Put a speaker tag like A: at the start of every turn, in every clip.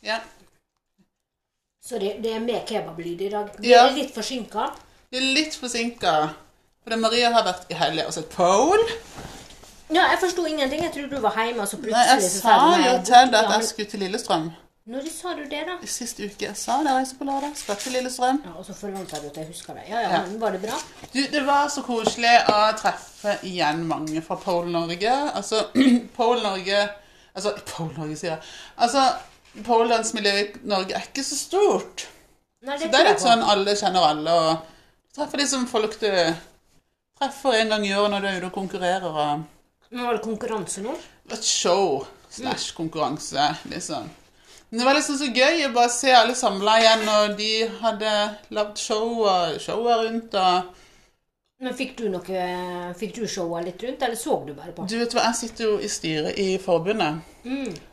A: Ja.
B: Så det, det er mer kebablyd i dag. Vi
A: Ja.
B: er litt forsinka.
A: Vi er litt forsinka. Fordi Maria har vært i helga og sett Pole.
B: Ja, jeg forsto ingenting. Jeg trodde du var hjemme, og så
A: Nei, jeg
B: plutselig så
A: sa
B: du meg
A: jo
B: bort.
A: til deg
B: Ja,
A: at
B: men
A: jeg skulle til Lillestrøm.
B: Når sa du det, da?
A: Sist uke jeg sa det, jeg reiser på lørdag. Skal til Lillestrøm.
B: Ja, Og så forventa du at jeg huska det. Ja, ja,
A: Ja.
B: men Var det bra?
A: Du, det var så koselig å treffe igjen mange fra Pole Norge. Altså, Pole Norge Altså, Pole Norge, sier jeg. Altså, Poledansmiljøet i Norge er ikke så stort.
B: Nei,
A: Så
B: det,
A: det er
B: tror jeg
A: litt
B: på.
A: sånn alle kjenner alle, og treffer liksom folk du treffer en gang i året når du er ute og konkurrerer, og
B: Nå var det konkurranse nå.
A: et show slash konkurranse, liksom. Men det var liksom så gøy å bare se alle samla igjen, og de hadde lagd show og showet rundt, og
B: Men fikk du noe Fikk du showa litt rundt, eller så du bare på?
A: Du vet hva, jeg sitter jo i styret i forbundet.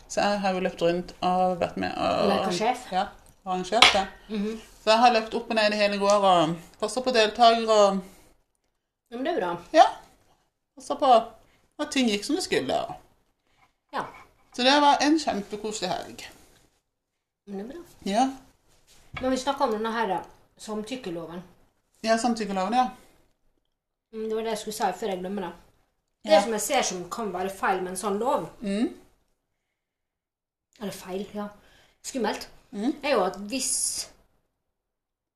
A: Så jeg har jo løpt rundt og vært med og
B: Vært sjef?
A: Ja, og arrangert det. Så jeg har løpt opp og ned i hele går og passet på deltakere og
B: Ja, men det er bra.
A: ja, passet på at ting gikk som det skulle. og-
B: Ja.
A: Så det var en kjempekoselig helg.
B: Men det er bra.
A: Ja,
B: Men vi snakka om denne her da, samtykkeloven.
A: ja samtykkeloven, ja.
B: Mm, Det var det jeg skulle si før jeg glemmer det. Det
A: Ja.
B: som jeg ser som kan være feil med en sånn lov
A: Mm.
B: Eller feil, ja. Skummelt.
A: Mm.
B: Er jo at hvis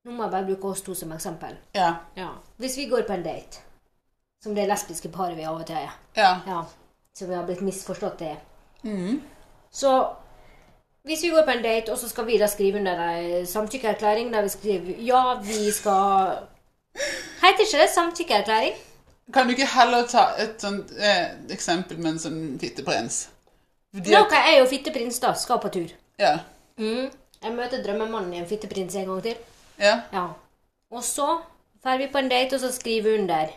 B: Nå må jeg bare bruke oss to som eksempel.
A: Ja,
B: Ja. Hvis vi går på en date, som det lesbiske paret vi av og til er,
A: ja.
B: ja, som vi har blitt misforstått til
A: Mm.
B: Så hvis vi går på en date, og så skal vi da skrive under ei samtykkeerklæring der vi skriver ja, vi skal Heter ikke det samtykkeerklæring?
A: Kan du ikke heller ta et sånt eh, eksempel med en sånn fitteprins? Fordi-
B: Nå er jo fitteprins, da. Skal på tur.
A: Ja,
B: Mm. Jeg møter drømmemannen i en fitteprins en gang til.
A: ja,
B: Ja. Og så drar vi på en date, og så skriver vi under.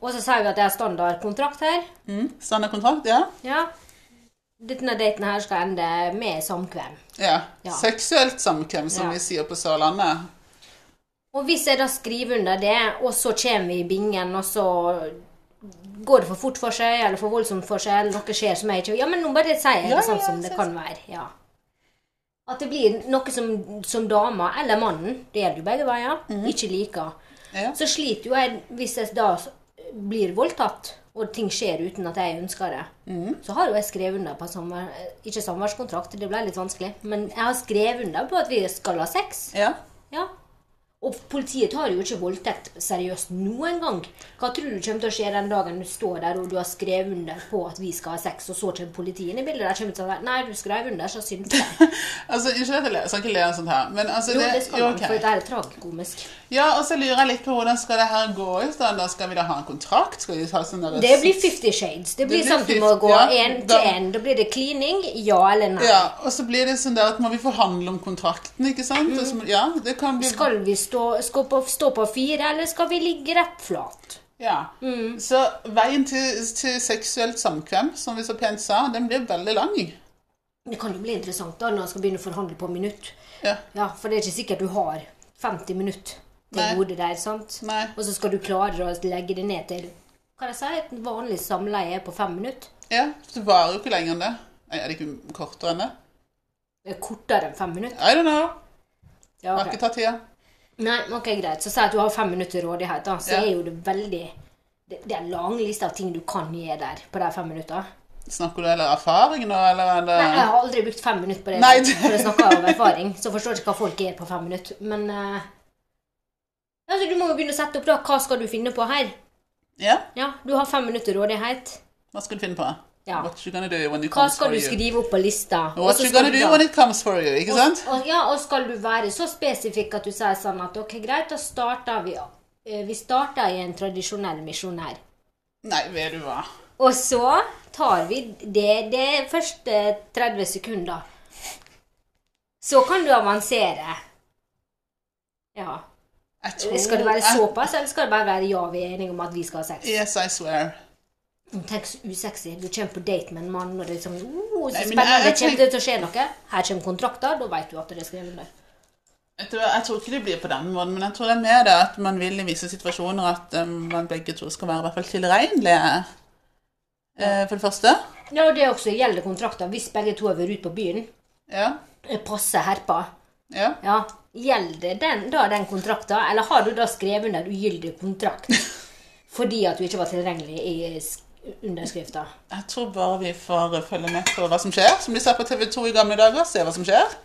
B: Og så sier vi at det er standardkontrakt her.
A: mm. Standardkontrakt, ja.
B: Ja. Denne daten her skal ende med samkvem.
A: Ja.
B: Ja.
A: Seksuelt samkvem, som
B: Ja.
A: vi sier på Sørlandet.
B: Og hvis jeg da skriver under det, og så kommer vi i bingen, og så går det for fort for seg, eller for voldsomt for seg, eller noe skjer som jeg ikke Ja, men nå bare sier jeg
A: Ja,
B: det sånn
A: ja,
B: som
A: jeg
B: det
A: ser-
B: kan være. Ja. At det blir noe som, som dama, eller mannen, det gjelder jo begge veier, ikke liker.
A: Mhm. Ja.
B: Så sliter jo jeg hvis jeg da s- blir voldtatt, og ting skjer uten at jeg ønsker det.
A: Mhm.
B: Så har jo jeg skrevet under på samvær... Ikke samværskontrakt, det ble litt vanskelig, men jeg har skrevet under på at vi skal ha sex.
A: Ja.
B: Ja. Og politiet tar jo ikke voldtekt seriøst noen gang. Hva tror du kommer til å skje den dagen du står der og du har skrevet under på at vi skal ha sex, og så kommer politiet inn i bildet? Der kommer de til å si nei, du skrev under, så synd for deg.
A: Altså, unnskyld at jeg ler, jeg skal ikke le av sånt her, men altså
B: Jo,
A: det,
B: det skal
A: jo,
B: man,
A: ok.
B: for dette er tragikomisk.
A: Ja, og så lurer jeg litt på hvordan skal det her gå i stand? Da skal vi da ha en kontrakt? Skal vi ha sånn der
B: Det blir 50 shades. Det blir,
A: blir
B: sånn at du må
A: 50,
B: gå
A: ja.
B: én
A: Da-
B: til én. Da blir det klining, ja eller nei.
A: Ja, og så blir det sånn der at må vi forhandle om kontrakten, ikke sant? Og så, må- ja, det kan bli
B: Mm. Skal vi stå, skal på, stå på fire, eller skal vi ligge rett flat?
A: Ja.
B: Mm.
A: Så veien til, til seksuelt samkvem, som vi så pent sa, den blir veldig lang.
B: Det kan jo bli interessant da når man skal begynne å forhandle på minutt.
A: Ja.
B: Ja, for det er ikke sikkert du har 50 minutter
A: Nei.
B: til hodet der, sant?
A: Nei.
B: Og så skal du klare å legge det ned til Kan jeg si et vanlig samleie er på fem minutter?
A: Ja, det varer jo ikke lenger enn det. Nei, Er det ikke kortere enn det?
B: Det er Kortere enn fem minutter?
A: I don't know.
B: Ja,
A: Jeg har
B: ok.
A: ikke tatt tida.
B: Nei, men ok, greit. Så si at du har fem minutter til rådighet, da. Så
A: Ja.
B: er jo det veldig det, det er en lang liste av ting du kan gjøre der på de fem minuttene.
A: Snakker du eller erfaring nå, eller er det
B: Nei, jeg har aldri brukt fem minutter på det,
A: Nei, det-
B: for jeg snakker av erfaring. Så jeg forstår ikke hva folk gjør på fem minutter. Men eh, altså, du må jo begynne å sette opp, da. Hva skal du finne på her?
A: Ja?
B: Ja, du har fem minutter til rådighet.
A: Hva skal du finne på?
B: Ja.
A: What you gonna do when it
B: Hva
A: comes for
B: skal du
A: you?
B: skrive opp på lista? Og
A: What
B: så
A: you
B: skal
A: gonna
B: du
A: do
B: da-
A: when it comes for you, ikke sant?
B: og, ja, og skal du være så spesifikk at du sier sånn at ok, greit, da starter vi eh, Vi starter i en tradisjonell misjonær.
A: Nei, vet du hva.
B: Og så tar vi det, det første 30 sekunder. Så kan du avansere. Ja.
A: Jeg tror
B: Skal det være
A: jeg-
B: såpass, eller skal det bare være ja, vi er enige om at vi skal ha sex?
A: Yes, I swear.
B: Tenk så usexy. Du kommer på date med en mann, og det er sånn oh, så
A: Nei, men
B: spennende.
A: jeg- jeg
B: Kommer det til å skje noe? Her kommer kontrakter. Da vet du at det er skrevet under.
A: Jeg tror, jeg tror ikke det blir på den måten, men jeg tror det er mer det at man vil i visse situasjoner at eh, man begge to skal være i hvert fall tilregnelige. Eh, for det første.
B: Ja, og det er også gjelder kontrakter. Hvis begge to har vært ute på byen,
A: Ja.
B: eh, passe herpa.
A: Ja.
B: Ja, Gjelder den, da den kontrakten, eller har du da skrevet under ugyldig kontrakt fordi at du ikke var tilregnelig i sk- underskrifta?
A: Jeg tror bare vi får følge med på hva som skjer, som de ser på TV 2 i gamle dager. Se hva som skjer.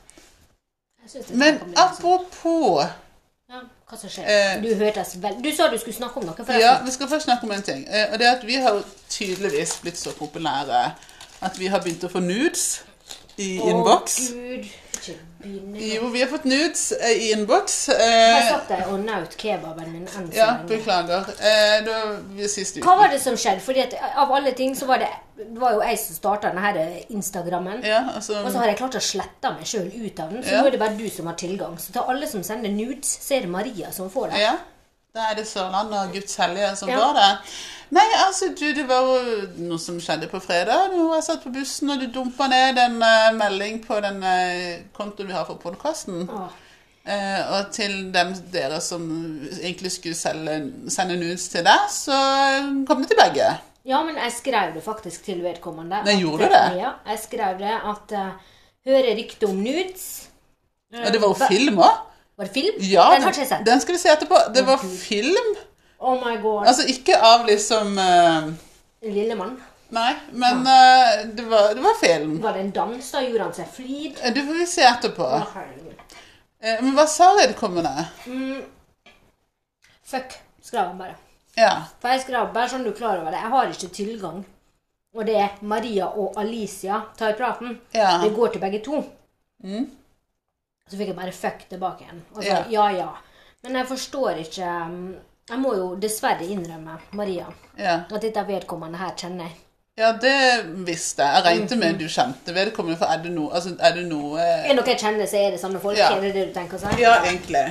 B: Jeg synes det
A: Men
B: kan bli litt sånn.
A: apropos
B: ja, Hva som skjer?
A: Eh,
B: du hørtes vel Du sa du skulle snakke om noe, forresten.
A: Ja, vi skal først snakke om en ting. eh, Og det er at vi har jo tydeligvis blitt så populære at vi har begynt å få nudes i innboks.
B: Å, Gud. Ikke begynne.
A: Jo, vi har fått nudes eh, i innboks.
B: Jeg
A: Eh,
B: satt der og nøt kebaben min enn så
A: ja,
B: lenge.
A: beklager. Eh, det var vi sist uke.
B: Hva var det som skjedde? Fordi at Av alle ting så var det Det var jo jeg som starta denne Instagrammen.
A: Ja,
B: Og så
A: altså,
B: har jeg klart å slette meg sjøl ut av den, så
A: Ja.
B: nå er det bare du som har tilgang. Så til alle som sender nudes, så er det Maria som får det.
A: ja. Da er det Sørlandet og Guds hellige som
B: Ja.
A: var det. Nei, altså, du, det var jo noe som skjedde på fredag. Nå var jeg satt på bussen, og du dumpa ned en eh, melding på den eh, kontoen vi har for podkasten.
B: Åh.
A: Eh, og til dem dere som egentlig skulle selge, sende nudes til deg, så eh, kom det til begge.
B: Ja, men jeg skrev det faktisk til vedkommende.
A: Nei,
B: at- eh,
A: gjorde du det?
B: Ja, jeg skrev det at uh, Hører rykte om nudes.
A: Og det var jo film òg.
B: Var det film?
A: Ja,
B: Eh, Den har ikke jeg sett. Mm.
A: den skal du se etterpå. Det var film.
B: Oh my god.
A: Altså ikke av liksom eh,
B: Lillemann.
A: Nei, men eh, det, var, det var film.
B: Var det en dans? Da gjorde han seg flid.
A: Eh, Det får vi se etterpå.
B: Å, herregud.
A: Eh, men hva sa vedkommende?
B: Fuck, skrev han bare.
A: Ja.
B: For jeg skrev bare sånn du er klar over det. Jeg har ikke tilgang. Og det er Maria og Alicia tar praten.
A: ja. Mm.
B: Det går til begge to. Så fikk jeg bare fuck tilbake igjen. Og så,
A: Ja.
B: ja. ja Men jeg forstår ikke um, Jeg må jo dessverre innrømme, Maria,
A: Ja,
B: at dette vedkommende her kjenner jeg.
A: ja det visste jeg. Jeg regnet med du kjente vedkommende, for er det noe, altså, er det noe
B: Er det noe jeg kjenner, så er det samme folk?
A: Ja.
B: Er det det du tenker å si?
A: Ja, egentlig.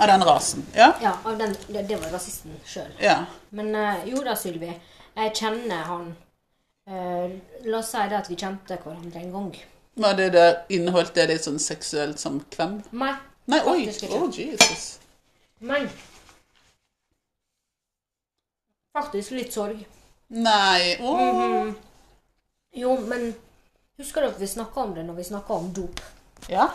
A: Av den rasen. Ja.
B: Ja, av den, det, det var rasisten sjøl.
A: Ja.
B: Men eh, jo da, Sylvi. Jeg kjenner han Eh, La oss si det at vi kjente hverandre en gang.
A: Var det der, inneholdt det litt sånn seksuelt samkvem?
B: Nei.
A: Nei, oi!
B: Faktisk ikke.
A: Oh, Jesus.
B: Men Faktisk litt sorg.
A: Nei, åh.
B: Mhm. Jo, men husker dere vi snakka om det når vi snakka om dop?
A: Ja.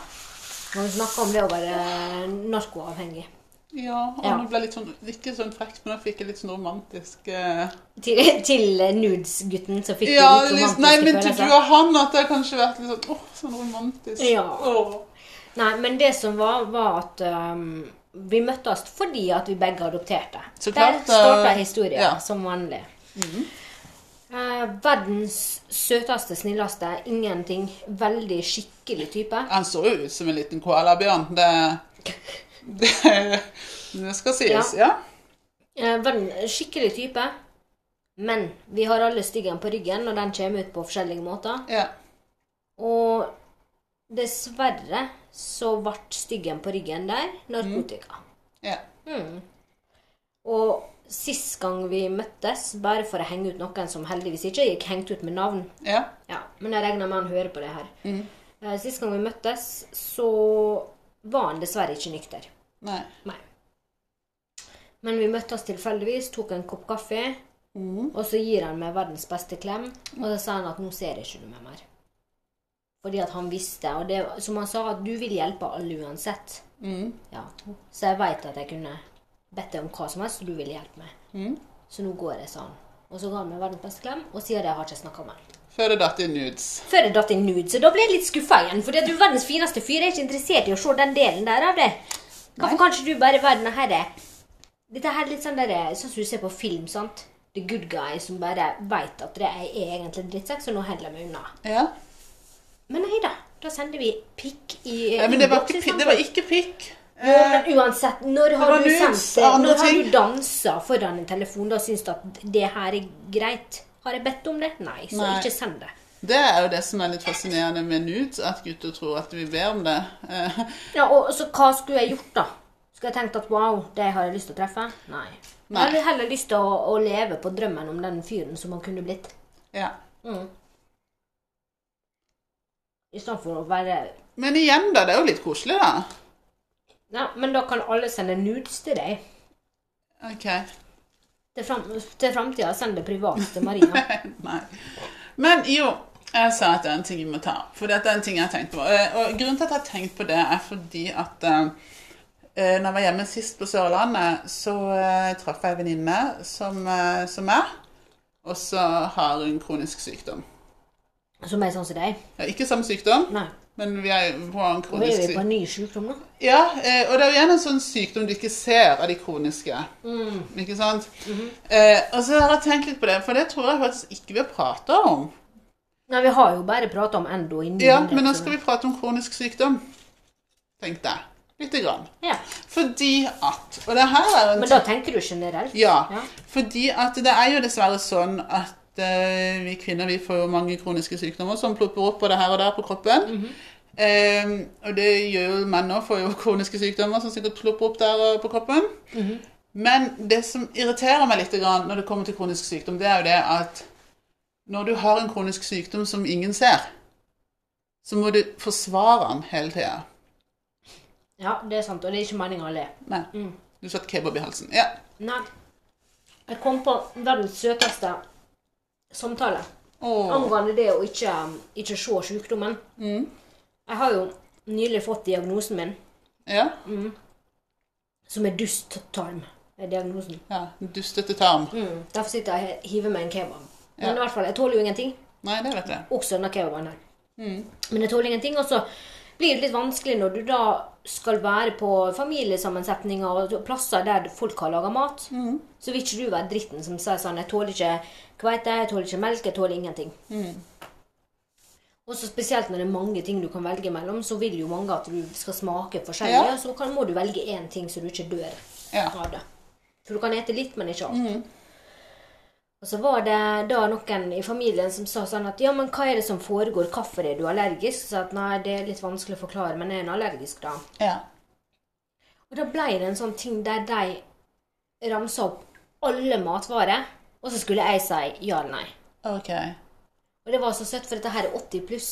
B: Når vi snakka om det å være narkoavhengig.
A: Ja, og
B: Ja.
A: nå ble jeg litt sånn, ikke sånn frekt, men nå fikk jeg litt sånn romantisk eh,
B: Til, til nudes-gutten som fikk
A: Ja,
B: litt
A: litt,
B: romantiske
A: nei, men til du
B: følelser.
A: og han at det har kanskje vært litt sånn, åh, sånn romantisk.
B: altså. Ja.
A: Åh.
B: Nei, men det som var, var at ehm, vi møttes fordi at vi begge adopterte.
A: Så
B: Der
A: klart,
B: starta
A: eh,
B: historien,
A: ja. Mhm.
B: som vanlig. Eh, verdens søteste, snilleste, ingenting. Veldig skikkelig type.
A: Han så jo ut som en liten koalabjørn. Det, det, det skal sies, ja.
B: Eh, verden, skikkelig type. Men vi har alle styggen på ryggen, og den kommer ut på forskjellige måter.
A: Ja.
B: Og dessverre så ble styggen på ryggen der narkotika.
A: Ja.
B: Og sist gang vi møttes, bare for å henge ut noen som heldigvis ikke gikk hengt ut med navn
A: Ja.
B: Ja, Men jeg regner med han hører på det her. Eh, Sist gang vi møttes, så var han dessverre ikke nykter.
A: Nei.
B: Nei. Men vi møttes tilfeldigvis, tok en kopp kaffe,
A: Mm.
B: og så gir han meg verdens beste klem, og så sa han at nå ser jeg ikke du meg mer. Fordi at han visste, og det, som han sa, at du vil hjelpe alle uansett.
A: Mm.
B: Ja, så jeg veit at jeg kunne bedt deg om hva som helst, og du ville hjelpe meg.
A: Mm.
B: Så nå går jeg, sa han. Og så ga han meg verdens beste klem, og sier at jeg har ikke snakka med han.
A: Før det datt i nudes.
B: Før jeg datt i nude, så da ble jeg litt skuffa igjen. For du er verdens fineste fyr, jeg er ikke interessert i å se den delen der av det. Hvorfor kan ikke du bare være den herre Dette her er litt sånn der, sånn som du ser på film, sant? The good guy som bare veit at det er jeg er egentlig en drittsekk, så nå holder jeg meg unna.
A: Ja.
B: Men nei da. Da sender vi pikk i
A: Ja, men det var
B: innboks
A: ikke, pi-
B: istedenfor.
A: det var ikke pikk. Eh,
B: Jo, men uansett, når har
A: var
B: du
A: nudes
B: sendt
A: og
B: det?
A: andre
B: Når har
A: ting.
B: du dansa foran en telefon da og syns du at det her er greit? Har jeg bedt om det? Nei, så
A: Nei.
B: ikke send det.
A: Det er jo det som er litt fascinerende med nudes, at gutter tror at vi ber om det. Eh,
B: Ja, og så hva skulle jeg gjort, da? Skulle jeg tenkt at wow, det har jeg lyst til å treffe? Nei. Jeg
A: Nei.
B: hadde heller lyst til å, å leve på drømmen om den fyren som han kunne blitt.
A: Ja.
B: Mm. I stedet for å være
A: Men igjen, da. Det er jo litt koselig, da.
B: Ja, men da kan alle sende nudes til deg.
A: OK.
B: Til fram- til framtida send det privat til Maria.
A: Nei. Men jo, Jeg sa at det er en ting vi må ta opp. For dette er en ting jeg har tenkt på. Eh, Og grunnen til at jeg har tenkt på det, er fordi at eh, eh, når jeg var hjemme sist på Sørlandet, så eh, traff jeg en venninne som, eh, som meg. Og så har hun kronisk sykdom.
B: Som er sånn som deg.
A: Ja, ikke samme sykdom,
B: Nei.
A: men vi er på en
B: Nå er
A: kronisk
B: vi på
A: sykdom.
B: en ny sykdom, da.
A: Ja, eh, og det er jo igjen en sånn sykdom du ikke ser av de kroniske.
B: Mm.
A: Ikke sant?
B: Mhm.
A: eh, og så har jeg tenkt litt på det, for det tror jeg faktisk ikke vi har prata om.
B: Nei, vi har jo bare prata om endo innen
A: Ja, men nå skal vi prate om kronisk sykdom. Tenkte jeg. Lite grann.
B: ja.
A: Fordi at Og det her er jo en
B: Men da tenker du generelt?
A: Ja.
B: Ja.
A: Fordi at det er jo dessverre sånn at eh, vi kvinner vi får jo mange kroniske sykdommer som plopper opp både her og der på kroppen. Eh, og det gjør jo menn òg, får jo kroniske sykdommer som sikkert plopper opp der og på kroppen. Men det som irriterer meg litt grann når det kommer til kronisk sykdom, det er jo det at når du har en kronisk sykdom som ingen ser, så må du forsvare den hele tida.
B: ja, det er sant. Og det er ikke meninga å le.
A: Nei. Du satt kebab i halsen. Ja.
B: Nei. Jeg kom på verdens søteste samtale
A: Åh.
B: angående det å ikke, um, ikke se sykdommen. Jeg har jo nylig fått diagnosen min,
A: Ja.
B: som er dusttarm. er diagnosen.
A: ja. Dustete tarm.
B: Mm. Derfor sitter jeg og hiver meg en kebab. Men
A: Ja.
B: i hvert fall, jeg tåler jo ingenting.
A: Nei, det vet jeg.
B: Også denne kebaben her. Men jeg tåler ingenting. Og så blir det litt vanskelig når du da skal være på familiesammensetninger og plasser der folk har laga mat. Så vil ikke du være dritten som sier sånn 'Jeg tåler ikke kveite, jeg tåler ikke melk, jeg tåler ingenting'. Og så Spesielt når det er mange ting du kan velge mellom, så vil jo mange at du skal smake forskjellig.
A: Ja.
B: og Så kan, må du velge én ting så du ikke dør
A: Ja. Mm.
B: av det. For du kan ete litt, men ikke alt. Og så var det da noen i familien som sa sånn at ja, men hva er det som foregår, hvorfor er du allergisk? Så sa jeg at nei, det er litt vanskelig å forklare, men er en allergisk da?
A: Ja.
B: Og da ble det en sånn ting der de ramsa opp alle matvarer, og så skulle jeg si ja eller nei.
A: Ok.
B: Og det var så søtt, for dette her er 80 pluss.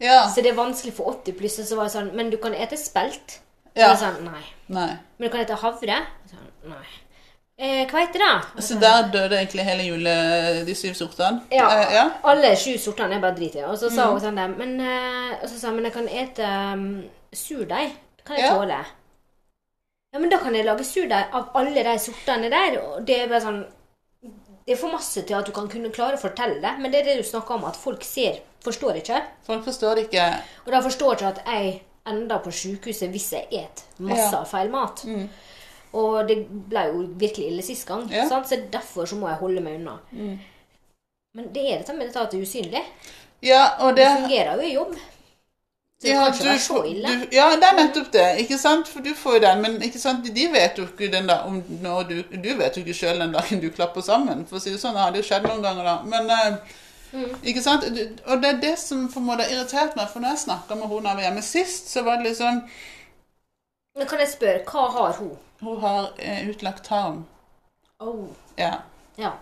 A: Ja.
B: Så det er vanskelig for 80 pluss, og så var det sånn, men du kan ete spelt?
A: Ja.
B: Og jeg sa nei.
A: Nei.
B: Men du kan ete havre? Og jeg sa nei. Eh, kveite da?
A: Så der døde egentlig hele jule... De syv sortene?
B: Ja.
A: Eh, ja.
B: Alle sju sortene er bare drit i. Og så sa hun sånn der men, eh, Og så sa hun men jeg kan ete um, surdeig. Det kan jeg
A: Ja.
B: tåle. Ja, men da kan jeg lage surdeig av alle de sortene der. Og det er bare sånn Det er for masse til at du kan kunne klare å fortelle det, men det er det du snakker om, at folk ser Forstår ikke.
A: Folk forstår det ikke.
B: Og de forstår ikke at jeg ender på sykehuset hvis jeg et masse
A: Ja. Mm.
B: av feil mat. Og det ble jo virkelig ille sist gang,
A: Ja. Mm.
B: sant? så derfor så må jeg holde meg unna. Men det er dette med dette at det er usynlig.
A: Ja, og det
B: Det fungerer jo i jobb. Så det
A: ja,
B: kan ikke være så
A: får-
B: ille.
A: Du, ja, det er nettopp det. Ikke sant? For du får jo den, men ikke sant? de vet jo ikke den da, om når du, du vet jo ikke sjøl den dagen du klapper sammen. For å si det sånn, det hadde jo skjedd noen ganger da. Men, eh,
B: Mm.
A: ikke sant? Du- Og det er det som på en måte har irritert meg. For når jeg snakka med hun da jeg var hjemme sist, så var det liksom
B: Men kan jeg spørre, hva har hun?
A: Hun har eh, utlagt tarm.
B: Oh.
A: Ja.
B: Ja.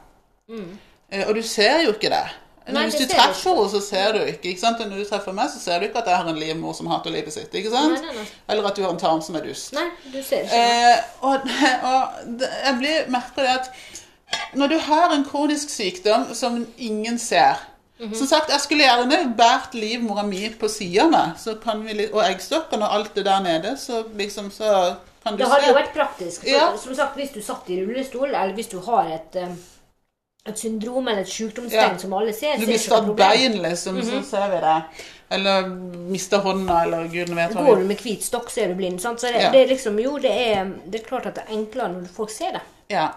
A: Eh, Og du ser jo ikke det.
B: Nei,
A: Hvis
B: det
A: du
B: ser jeg
A: treffer henne, så ser du ikke. ikke sant? Og Når du treffer meg, så ser du ikke at jeg har en livmor som hater livet sitt. ikke sant?
B: Nei, nei, nei.
A: Eller at du har en tarm som er dust.
B: Nei, du ser ikke.
A: Eh, og, og det- jeg blir merker det at når du har en kronisk sykdom som ingen ser
B: Mhm.
A: Som sagt, jeg skulle gjerne båret livmora mi på sida av meg, så kan vi, li- og eggstokkene og alt det der nede, så liksom så kan du
B: Det hadde
A: se.
B: jo vært praktisk. For,
A: Ja.
B: Som sagt, Hvis du satt i rullestol, eller hvis du har et, eh, et syndrom eller et sykdomstegn
A: Ja.
B: som alle ser, så
A: Du
B: er det ikke
A: mister
B: noe
A: et
B: problem.
A: bein, liksom,
B: Mhm.
A: så ser vi det. Eller mister hånda, eller gudene vet hva vi
B: Går du med hvit stokk, så er du blind. Sant? Så det,
A: Ja.
B: det er liksom, jo, det er, det er klart at det er enklere når folk ser det.
A: Ja,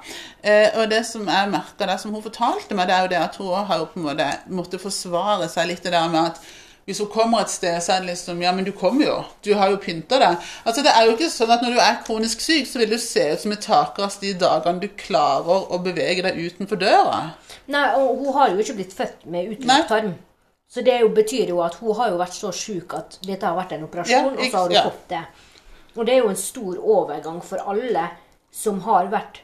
A: eh, og det som jeg merker, det som hun fortalte meg, det er jo det at hun også har jo på en måte måtte forsvare seg litt det der med at hvis hun kommer et sted, så er det liksom Ja, men du kommer jo. Du har jo pynta deg. Altså, det er jo ikke sånn at når du er kronisk syk, så vil du se ut som et takras de dagene du klarer å bevege deg utenfor døra.
B: Nei, og hun har jo ikke blitt født med
A: Nei.
B: utlagt tarm. Så det er jo, betyr jo at hun har jo vært så syk at dette har vært en operasjon,
A: Ja,
B: og
A: ikke-
B: så har hun
A: ja.
B: fått det. Og det er jo en stor overgang for alle som har vært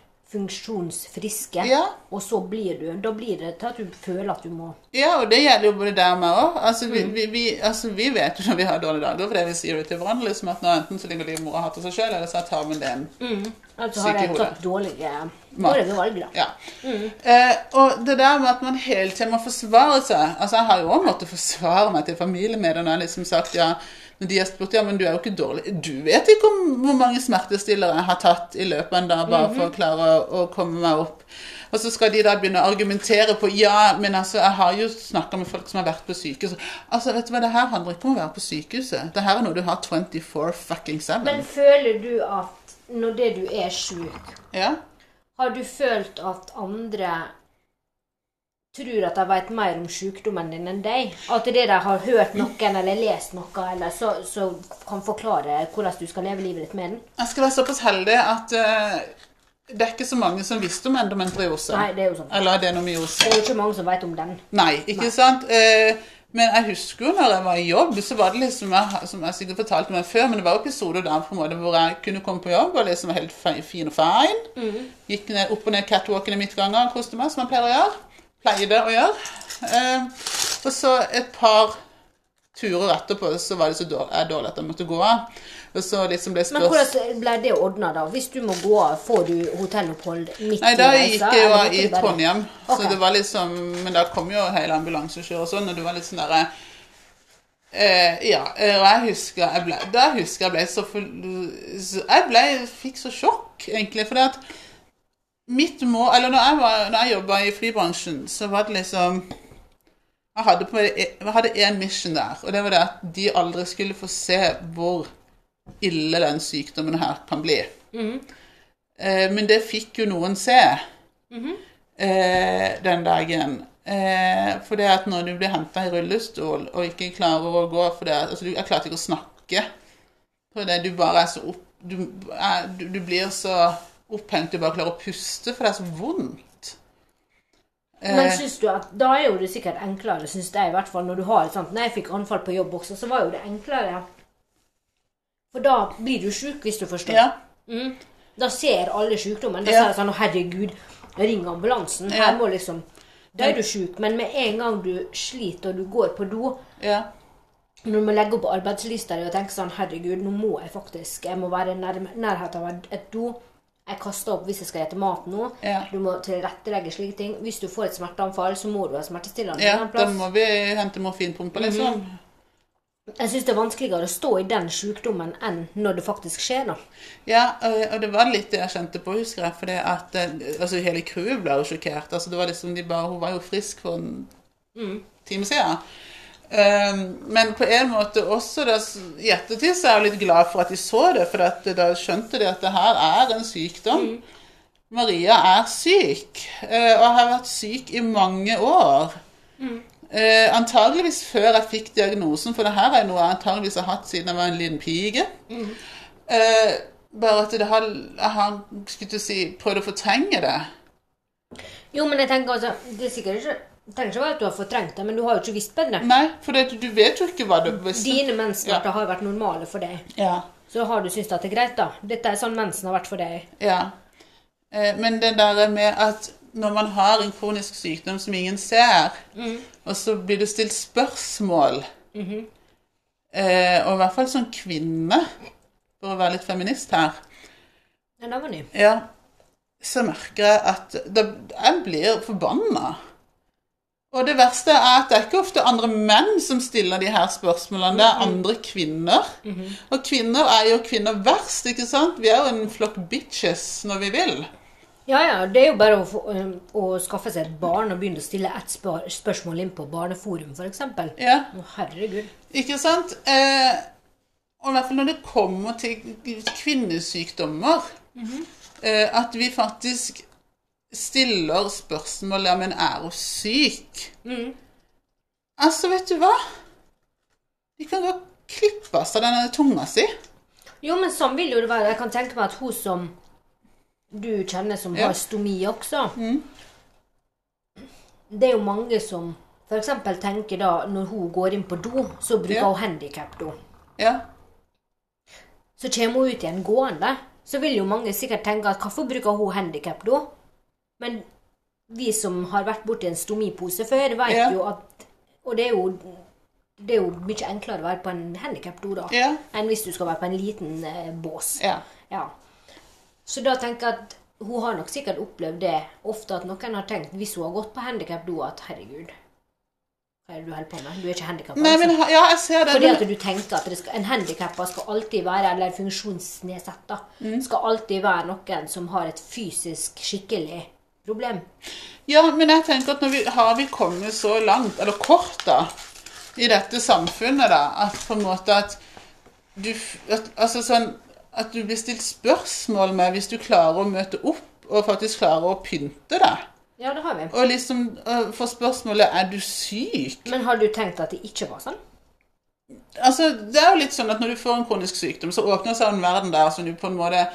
B: funksjonsfriske,
A: Ja.
B: og så blir du Da blir det til at du føler at du må
A: Ja, og det gjelder jo både der og meg òg. Altså, vi, vi, vi, altså, vi vet jo når vi har dårlige dager, fordi vi sier det til hverandre. liksom at nå Enten så ligger livmora og har hatt det seg sjøl, eller så har tarmen det en
B: Altså
A: Syk i
B: har jeg
A: hodet.
B: tatt dårlige, dårlige valg, da.
A: Ja. Eh, og det der med at man hele tiden må forsvare seg Altså, jeg har jo også måttet forsvare meg til familien min, og når jeg liksom sagt ja når de har spurt ja, men du er jo ikke dårlig Du vet ikke om hvor mange smertestillere jeg har tatt i løpet av en dag bare for å klare å, å komme meg opp. Og så skal de da begynne å argumentere på Ja, men altså, jeg har jo snakka med folk som har vært på sykehus. Altså, vet du hva, det her handler ikke om å være på sykehuset. Det her er noe du har 24 fucking 7.
B: Men føler du at når det du er sjuk,
A: ja?
B: har du følt at andre tror at de vet mer om sykdommen din enn deg? At det de har hørt noen eller lest noe, eller så, så kan forklare hvordan du skal leve livet ditt med den?
A: Jeg skal være såpass heldig at eh, det er ikke så mange som visste om endometriose.
B: Nei, det er jo sånn.
A: Eller adenomyose.
B: Det er jo ikke mange som vet om den.
A: Nei, ikke sant? Eh, men jeg husker jo når jeg var i jobb, så var det liksom jeg, Som jeg sikkert fortalte meg før, men det var jo episoder der på en måte hvor jeg kunne komme på jobb og liksom var helt fe- fin og fin.
B: Mhm.
A: Gikk ned, opp og ned catwalken i midtgangen og koste meg, som jeg pleier å gjøre. Pleide å gjøre. Eh, og så et par turer etterpå så var det så dårlig, jeg dårlig at jeg måtte gå av. Og så liksom ble
B: Men
A: spørsmål
B: hvordan ble det ordna, da? Hvis du må gå av, får du hotellopphold midt
A: Nei,
B: i
A: da
B: reisa?
A: gikk jeg jo
B: eller måtte
A: i
B: du bare-
A: Trondheim.
B: Ok.
A: Så det var liksom, men da kom jo hele ambulansesjøret og sånn, og det var litt sånn derre eh, Ja. eh, Og jeg husker jeg ble, da husker jeg ble så for, så Jeg ble, fikk så sjokk, egentlig, fordi at mitt mål Eller når jeg, var- når jeg jobba i flybransjen, så var det liksom Jeg hadde på meg- jeg hadde én mission der, og det var det at de aldri skulle få se hvor ille den sykdommen her kan bli. Eh, men det fikk jo noen se eh, den dagen. Eh, for det at når du blir henta i rullestol og ikke klarer å gå for det, at- altså, du, Jeg klarte ikke å snakke. For det, du bare er så opp... Du, er, du, du blir så opphengt du bare klarer å puste, for det er så vondt. Eh.
B: Men synes du at da er jo det sikkert enklere, synes jeg i hvert fall, når du har et sånt Når jeg fikk anfall på jobb også, så var jo det enklere. For da blir du sjuk, hvis du forstår.
A: Ja.
B: Mm. Da ser alle sykdommen. Da
A: Ja.
B: sier de sånn 'Å, herregud, ring ambulansen'.
A: Ja.
B: Her må liksom Da er du sjuk, men med en gang du sliter og du går på do,
A: ja.
B: når du må legge opp arbeidslista di og tenke sånn 'Herregud, nå må jeg faktisk Jeg må være i nærm- nærhet av et do. Jeg kaster opp hvis jeg skal spise mat nå.
A: Ja.
B: Du må tilrettelegge slike ting. Hvis du får et smerteanfall, så må du ha smertestillende.
A: Ja,
B: en
A: da
B: plass.
A: må vi hente morfinpumpa, liksom.
B: Jeg syns det er vanskeligere å stå i den sykdommen enn når det faktisk skjer, da.
A: Ja, eh, og og det var litt det jeg kjente på, husker jeg. For det at eh, altså, hele crewet ble jo sjokkert. Altså, det var liksom de bare, Hun var jo frisk for en time siden. Ehm, men på en måte også da, s- i ettertid så er jeg jo litt glad for at de så det, for at, eh, da skjønte de at det her er en sykdom. Maria er syk, eh, og har vært syk i mange år. Eh, antageligvis før jeg fikk diagnosen, for det her er noe jeg antageligvis har hatt siden jeg var en liten pige. Eh, bare at det har, jeg har skulle til å si, prøvd å fortrenge det.
B: Jo, men jeg tenker altså Det er sikkert ikke det trenger ikke være at du har fortrengt det, men du har jo ikke visst bedre.
A: Nei, for det, du vet jo ikke hva du visste.
B: Dine menssmerter har vært normale for deg.
A: Ja,
B: Så har du syntes at det er greit, da. Dette er sånn mensen har vært for deg.
A: ja. Eh, men det der med at når man har en kronisk sykdom som ingen ser, og så blir det stilt spørsmål eh, Og i hvert fall som kvinne, for å være litt feminist her,
B: Nei, det var ny.
A: ja, så merker jeg at da, jeg blir forbanna. Og det verste er at det er ikke ofte andre menn som stiller de her spørsmålene. Det er andre kvinner. Og kvinner er jo kvinner verst, ikke sant? Vi er jo en flokk bitches når vi vil.
B: Ja, ja. Det er jo bare å, få, øhm, å skaffe seg et barn og begynne å stille ett spør spørsmål inn på Barneforum, f.eks. Å,
A: Ja,
B: herregud.
A: ikke sant? Eh, og i hvert fall når det kommer til kvinnesykdommer,
B: Mhm.
A: eh, at vi faktisk stiller spørsmål om en er hun syk.
B: Mm.
A: Altså, vet du hva? De kan godt klippe seg denne tunga si.
B: Jo, men sånn vil jo det være. Jeg kan tenke meg at hun som du kjenner som
A: Ja. Mm.
B: har stomi også Det er jo mange som f.eks. tenker da når hun går inn på do, så bruker
A: Ja.
B: hun handikap-do.
A: Ja,
B: Så kommer hun ut igjen gående. så vil jo mange sikkert tenke at hvorfor bruker hun handikap da? Men vi som har vært borti en stomipose før, vet
A: Ja.
B: jo at Og det er jo, det er jo mye enklere å være på en handikapdo da,
A: Ja.
B: enn hvis du skal være på en liten eh, bås.
A: Ja.
B: Ja. Så da tenker jeg at hun har nok sikkert opplevd det ofte at noen har tenkt, hvis hun har gått på handikapdo, at herregud, hva er det du holder på med? Du er ikke handikappa.
A: Nei, men ha- ja, jeg ser det.
B: Altså, Fordi
A: Men,
B: at du tenker at det skal, en handikappa skal alltid være, eller funksjonsnedsatt, da, skal alltid være noen som har et fysisk skikkelig problem.
A: ja, men jeg tenker at når vi har vi kommet så langt, eller kort da, i dette samfunnet da, at på en måte at du, f- at, altså sånn, at du blir stilt spørsmål med hvis du klarer å møte opp og faktisk klarer å pynte deg.
B: Ja, det har vi.
A: Og liksom øh, få spørsmålet 'er du syk'?
B: Men har du tenkt at det ikke var sånn?
A: Altså, det er jo litt sånn at når du får en kronisk sykdom, så åpner seg en verden der som du på en måte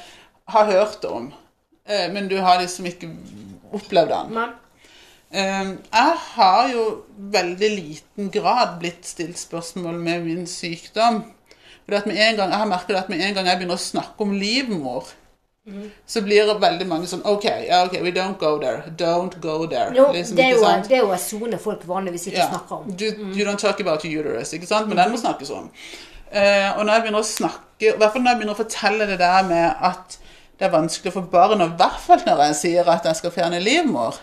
A: har hørt om, eh, men du har liksom ikke opplevd den.
B: Men
A: Eh, Jeg har jo veldig liten grad blitt stilt spørsmål med min sykdom. Fordi at med en gang, jeg har merket at med en gang jeg begynner å snakke om livmor, så blir det veldig mange sånn OK, ja, ok, we don't go there. Don't go there.
B: jo,
A: Liksom,
B: det er
A: ikke
B: jo
A: sant?
B: det er jo en sone folk vanligvis ikke
A: Ja.
B: snakker om.
A: Du, you don't talk about your uterus, ikke sant? Men den må snakkes om. Eh, og når jeg begynner å snakke, i hvert fall når jeg begynner å fortelle det der med at det er vanskelig for barn, og i hvert fall når jeg sier at jeg skal fjerne livmor,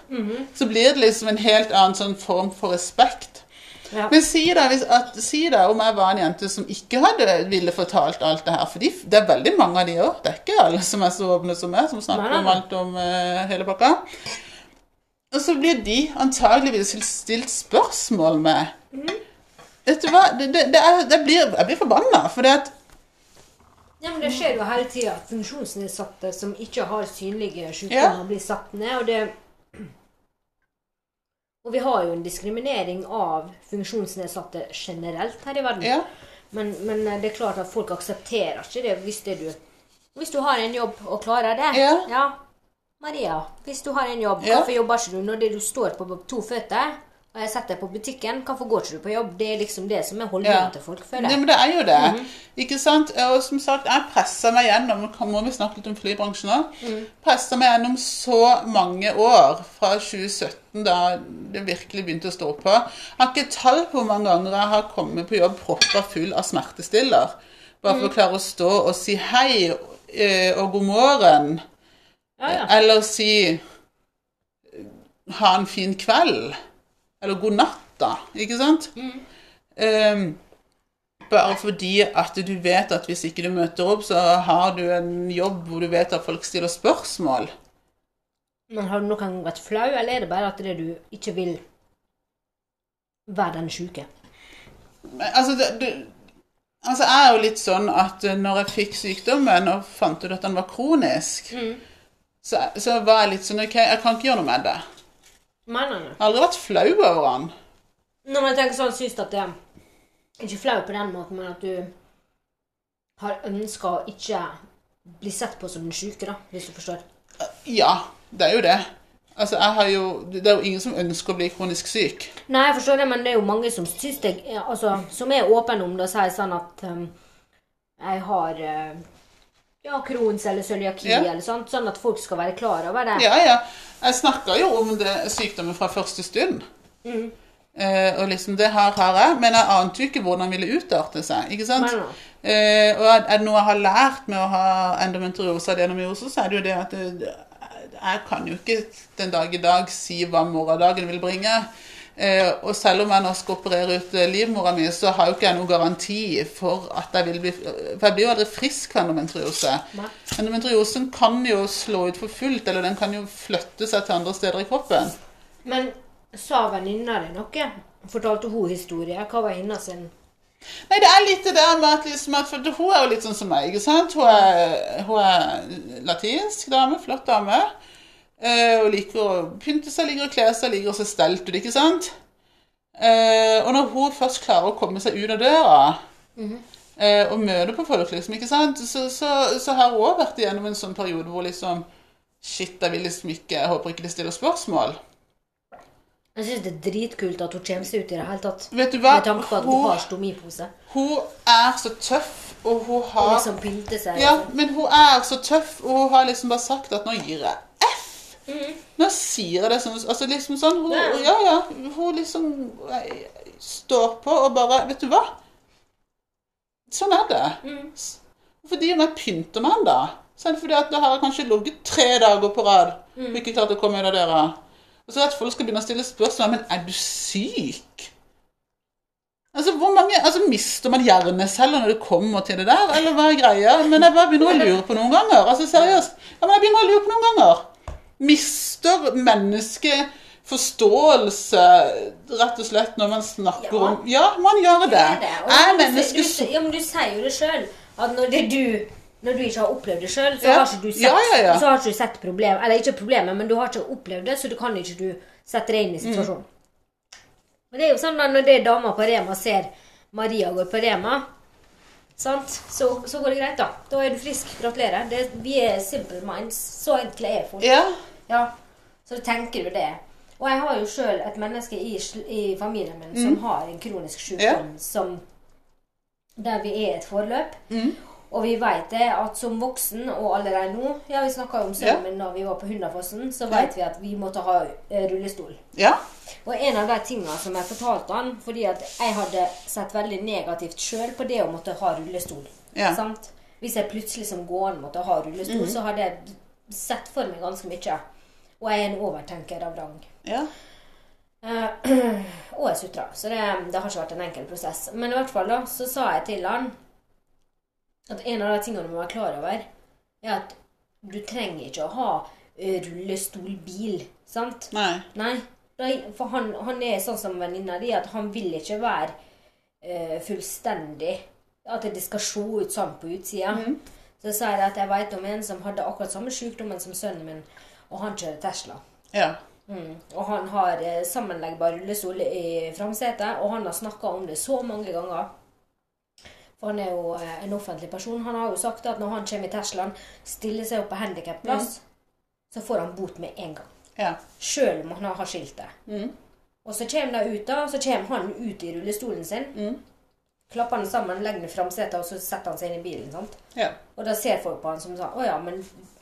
A: så blir det liksom en helt annen sånn form for respekt.
B: Ja.
A: Men si da, hvis, at, si da om jeg var en jente som ikke hadde ville fortalt alt det her, for de, det er veldig mange av de òg. Det er ikke alle som er så åpne som meg, som snakker
B: Nei, nei,
A: om
B: nei.
A: alt om eh, hele pakka. Og så blir de antageligvis stilt spørsmål med.
B: Mm.
A: Vet du hva, det, det, det er, det blir, jeg blir forbanna, for det at
B: Ja, men Det skjer jo hele tida at funksjonsnedsatte som ikke har synlige sykdommer,
A: Ja.
B: blir satt ned. Og, det, og vi har jo en diskriminering av funksjonsnedsatte generelt her i verden.
A: Ja.
B: Men, men det er klart at folk aksepterer ikke det hvis det du Hvis du har en jobb og klarer det
A: Ja.
B: Maria, hvis du har en jobb,
A: Ja.
B: hvorfor jobber ikke du når det du står på to føtter? Og jeg setter deg på butikken, hvorfor går ikke du på jobb? Det er liksom det som er holdningen
A: Ja.
B: til folk,
A: Ja,
B: føler jeg. Mhm.
A: men det er jo det. Ikke sant? Og som sagt, jeg pressa meg gjennom kan- Må vi snakke litt om flybransjen òg?
B: Mhm.
A: Pressa meg gjennom så mange år, fra 2017, da det virkelig begynte å stå på. Jeg har ikke tall på hvor mange ganger jeg har kommet på jobb proppa full av smertestiller. Bare
B: Mhm.
A: for å klare å stå og si hei eh, og god morgen.
B: Ja, ja.
A: Eller si ha en fin kveld. Eller god natt, da. Ikke sant? Ehm, bare fordi at du vet at hvis ikke du møter opp, så har du en jobb hvor du vet at folk stiller spørsmål.
B: Men har du noen gang vært flau, eller er det bare at det du ikke vil være den syke?
A: Men, altså, det, det, altså, jeg er jo litt sånn at eh, når jeg fikk sykdommen og fant ut at den var kronisk, så, så var jeg litt sånn OK, jeg kan ikke gjøre noe med det.
B: Nei, nei, nei.
A: Jeg har aldri vært flau over den.
B: Når man tenker sånn, synes du at det er ikke flau på den måten, men at du har ønsket å ikke bli sett på som den syke, da, hvis du forstår.
A: Ja, det er jo det. Altså, jeg har jo, det er jo ingen som ønsker å bli kronisk syk.
B: Nei, jeg forstår det, men det er jo mange som synes det, ja, altså, som er åpne om det og sier sånn at um, jeg har eh, ja, Crohns eller cøliaki
A: Ja.
B: eller sånt, sånn at folk skal være klar over det.
A: Ja, ja. Jeg snakka jo om det, sykdommen fra første stund.
B: Mm.
A: Eh, og liksom, det her har jeg, men jeg ante jo ikke hvordan den ville utarte seg. ikke sant?
B: Nei, nei.
A: Eh, og er er det noe jeg har lært med å ha endometriose og adenomyose, så er det jo det at det, jeg kan jo ikke den dag i dag si hva morgendagen vil bringe. Eh, og selv om jeg nå skal operere ut eh, livmora mi, så har jo ikke jeg noen garanti for at jeg vil bli For jeg blir jo aldri frisk av endometriose.
B: Nei.
A: Endometriosen kan jo slå ut for fullt, eller den kan jo flytte seg til andre steder i kroppen.
B: Men sa venninna di noe? Fortalte hun historie? Hva var hennes sin?
A: Nei, det er litt det der med at, liksom, at for Hun er jo litt sånn som meg, ikke sant? Hun er, hun er latinsk dame, flott dame. Eh, og liker å pynte seg, liker å kle seg, liker å se stelt ut, ikke sant? Eh, og når hun først klarer å komme seg ut av døra eh, og møte på folk, liksom, ikke sant? Så, så, så har hun òg vært igjennom en sånn periode hvor liksom Shit, jeg vil liksom ikke Jeg håper ikke de stiller spørsmål.
B: Jeg syns det er dritkult at hun kommer seg ut i det hele tatt.
A: Vet du hva?
B: Med tanke på at hun har
A: Hun,
B: stomipose.
A: hun er så tøff, og hun
B: Og
A: har
B: liksom pynter seg.
A: Ja, men hun er så tøff, og hun har liksom bare sagt at 'nå gir jeg F'. Nå sier jeg det som Altså liksom sånn hun,
B: Ja.
A: Ja, ja. Hun liksom eh, står på og bare Vet du hva? Sånn er det. S- Fordi om jeg pynter meg en dag Selv fordi at det har jeg kanskje ligget tre dager på rad
B: Mm.
A: og ikke klart å komme ut av døra. Og så at folk skal begynne å stille spørsmål Men er du syk? Altså, hvor mange, altså, Mister man hjerneceller når det kommer til det der, eller hva er greia? Men jeg bare begynner å lure på noen ganger. Altså, seriøst. Ja, men jeg begynner å lure på noen ganger. Mister mennesket forståelse, rett og slett, når man snakker
B: Ja.
A: om Ja, man gjør det.
B: Det er det. Og
A: Er
B: du-
A: mennesket
B: du, ja, men du sier jo det sjøl. At når det er du når du ikke har opplevd det sjøl, så,
A: Ja.
B: har ikke du sett-
A: Ja, ja, ja.
B: så har ikke du sett problem, Eller ikke problemet, men du har ikke opplevd det, så du kan ikke du sette deg
A: Mm.
B: inn i situasjonen. Men det er jo sånn da, Når det er dama på Rema ser Maria går på Rema, sant? Så, så går det greit, da. Da er du frisk. Gratulerer. Det, vi er simple minds. Så enkle er folk.
A: Ja.
B: Ja, så tenker du det. Og jeg har jo sjøl et menneske i, sl- i familien min som har en kronisk sykdom som Der vi er i et forløp. Og vi veit det at som voksen, og allerede nå Ja, vi snakka jo om sønnen
A: Ja.
B: min da vi var på Hundafossen, så veit vi at vi måtte ha eh, rullestol.
A: Ja.
B: Og en av de tingene som jeg fortalte han, fordi at jeg hadde sett veldig negativt sjøl på det å måtte ha rullestol.
A: Ja.
B: Sant? Hvis jeg plutselig som gående måtte ha rullestol, så hadde jeg sett for meg ganske mye. Og jeg er en overtenker av rang.
A: ja.
B: Eh, og jeg sutra, så det, det har ikke vært en enkel prosess. Men i hvert fall da, så sa jeg til han at en av de tingene du må være klar over, er at du trenger ikke å ha eh, rullestolbil, sant?
A: Nei.
B: Nei. Nei, for han, han er sånn som venninna di, at han vil ikke være eh, fullstendig At det skal se ut sånn på utsida. Så sa jeg at jeg veit om en som hadde akkurat samme sykdommen som sønnen min, og han kjører Tesla.
A: Ja.
B: Mm. Og han har eh, sammenleggbar rullestol i framsetet, og han har snakka om det så mange ganger. For han er jo eh, en offentlig person. Han har jo sagt at når han kommer i Teslaen, stiller seg opp på handikapplass, så får han bot med en gang.
A: Ja.
B: Sjøl om han har skiltet.
A: Mm.
B: Og så kommer de ut, da, og så kommer han ut i rullestolen sin.
A: Mm.
B: Klapper han sammen, legger den i framsetet, og så setter han seg inn i bilen. sant?
A: Ja.
B: Og da ser folk på han som sånn Å ja, men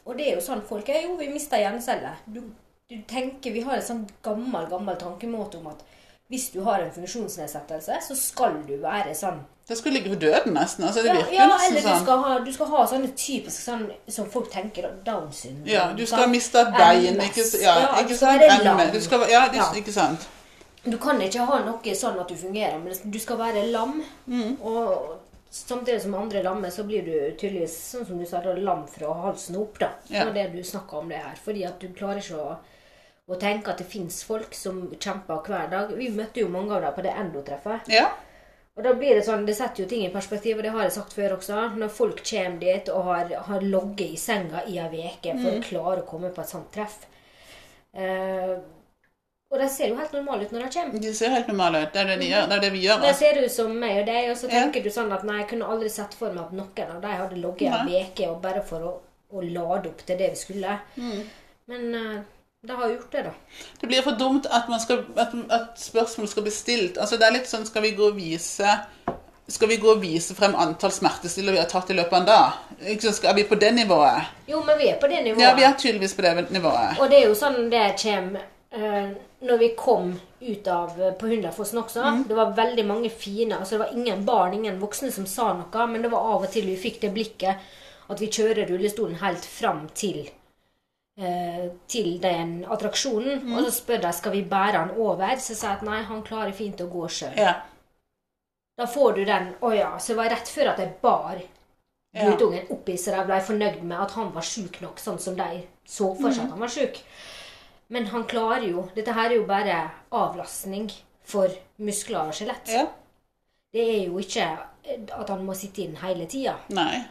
B: Og det er jo sånn folk er. Jo, vi mister hjerneceller. Du, du tenker Vi har en sånn gammel, gammel tankemåte om at hvis du har en funksjonsnedsettelse, så skal du være sånn.
A: Det skulle ligge for døden, nesten. Altså, det
B: Ja,
A: virker
B: ja
A: nesten
B: eller du
A: sånn.
B: skal, ha, du skal ha sånne typisk sånn som folk tenker da, Down syndrom.
A: Ja, du skal
B: sant?
A: miste et bein,
B: MS,
A: ikke, s- ja,
B: ja, altså,
A: ikke
B: du skal
A: sant?
B: være
A: M,
B: lam.
A: du skal, ja, du,
B: Ja.
A: ikke sant?
B: Du kan ikke ha noe sånn at du fungerer, men du skal være lam. Og samtidig som andre lammer, så blir du tydeligvis sånn som du sa, da, lam fra halsen og opp. da.
A: Ja.
B: Det var det du snakka om det her. Fordi at du klarer ikke å, å tenke at det fins folk som kjemper hver dag. Vi møtte jo mange av dem på det endotreffet.
A: Ja.
B: Og da blir Det sånn, det setter jo ting i perspektiv, og det har jeg sagt før også. Når folk kommer dit og har, har ligget i senga i ei uke for å klare å komme på et sånt treff eh, Og de ser jo helt normale ut når de kommer.
A: De ser helt normale ut. Det er det, de gjør. det, er det vi gjør.
B: Det
A: Altså.
B: ser ut som meg og deg, og så
A: Ja.
B: tenker du sånn at nei, jeg kunne aldri sett for meg at noen av de hadde ligget en
A: Nei.
B: uke og bare for å, å lade opp til det vi skulle.
A: Mm.
B: Men eh, de har gjort det, da.
A: Det blir for dumt at, man skal, at, at spørsmål skal bli stilt. Altså, det er litt sånn Skal vi gå og vise skal vi gå og vise frem antall smertestillere vi har tatt i løpet av en dag? Ikke sant? Skal- Er vi på det nivået?
B: Jo, men vi er på det nivået.
A: Ja, vi er tydeligvis på det nivået.
B: Og det er jo sånn det kommer eh, når vi kom ut av eh, på Hundafossen også. Det var veldig mange fine altså Det var ingen barn, ingen voksne som sa noe, men det var av og til vi fikk det blikket at vi kjører rullestolen helt fram til eh, til den attraksjonen. Og så spør de skal vi bære han over. Så sier jeg at nei, han klarer fint å gå sjøl.
A: Ja.
B: Da får du den 'å ja'. Så det var rett før at jeg bar
A: Ja.
B: guttungen oppi, så de ble fornøyd med at han var sjuk nok, sånn som de så for
A: Mhm.
B: seg at han var sjuk. Men han klarer jo Dette her er jo bare avlastning for muskler og skjelett.
A: ja.
B: Det er jo ikke at han må sitte inn hele tida.
A: Nei.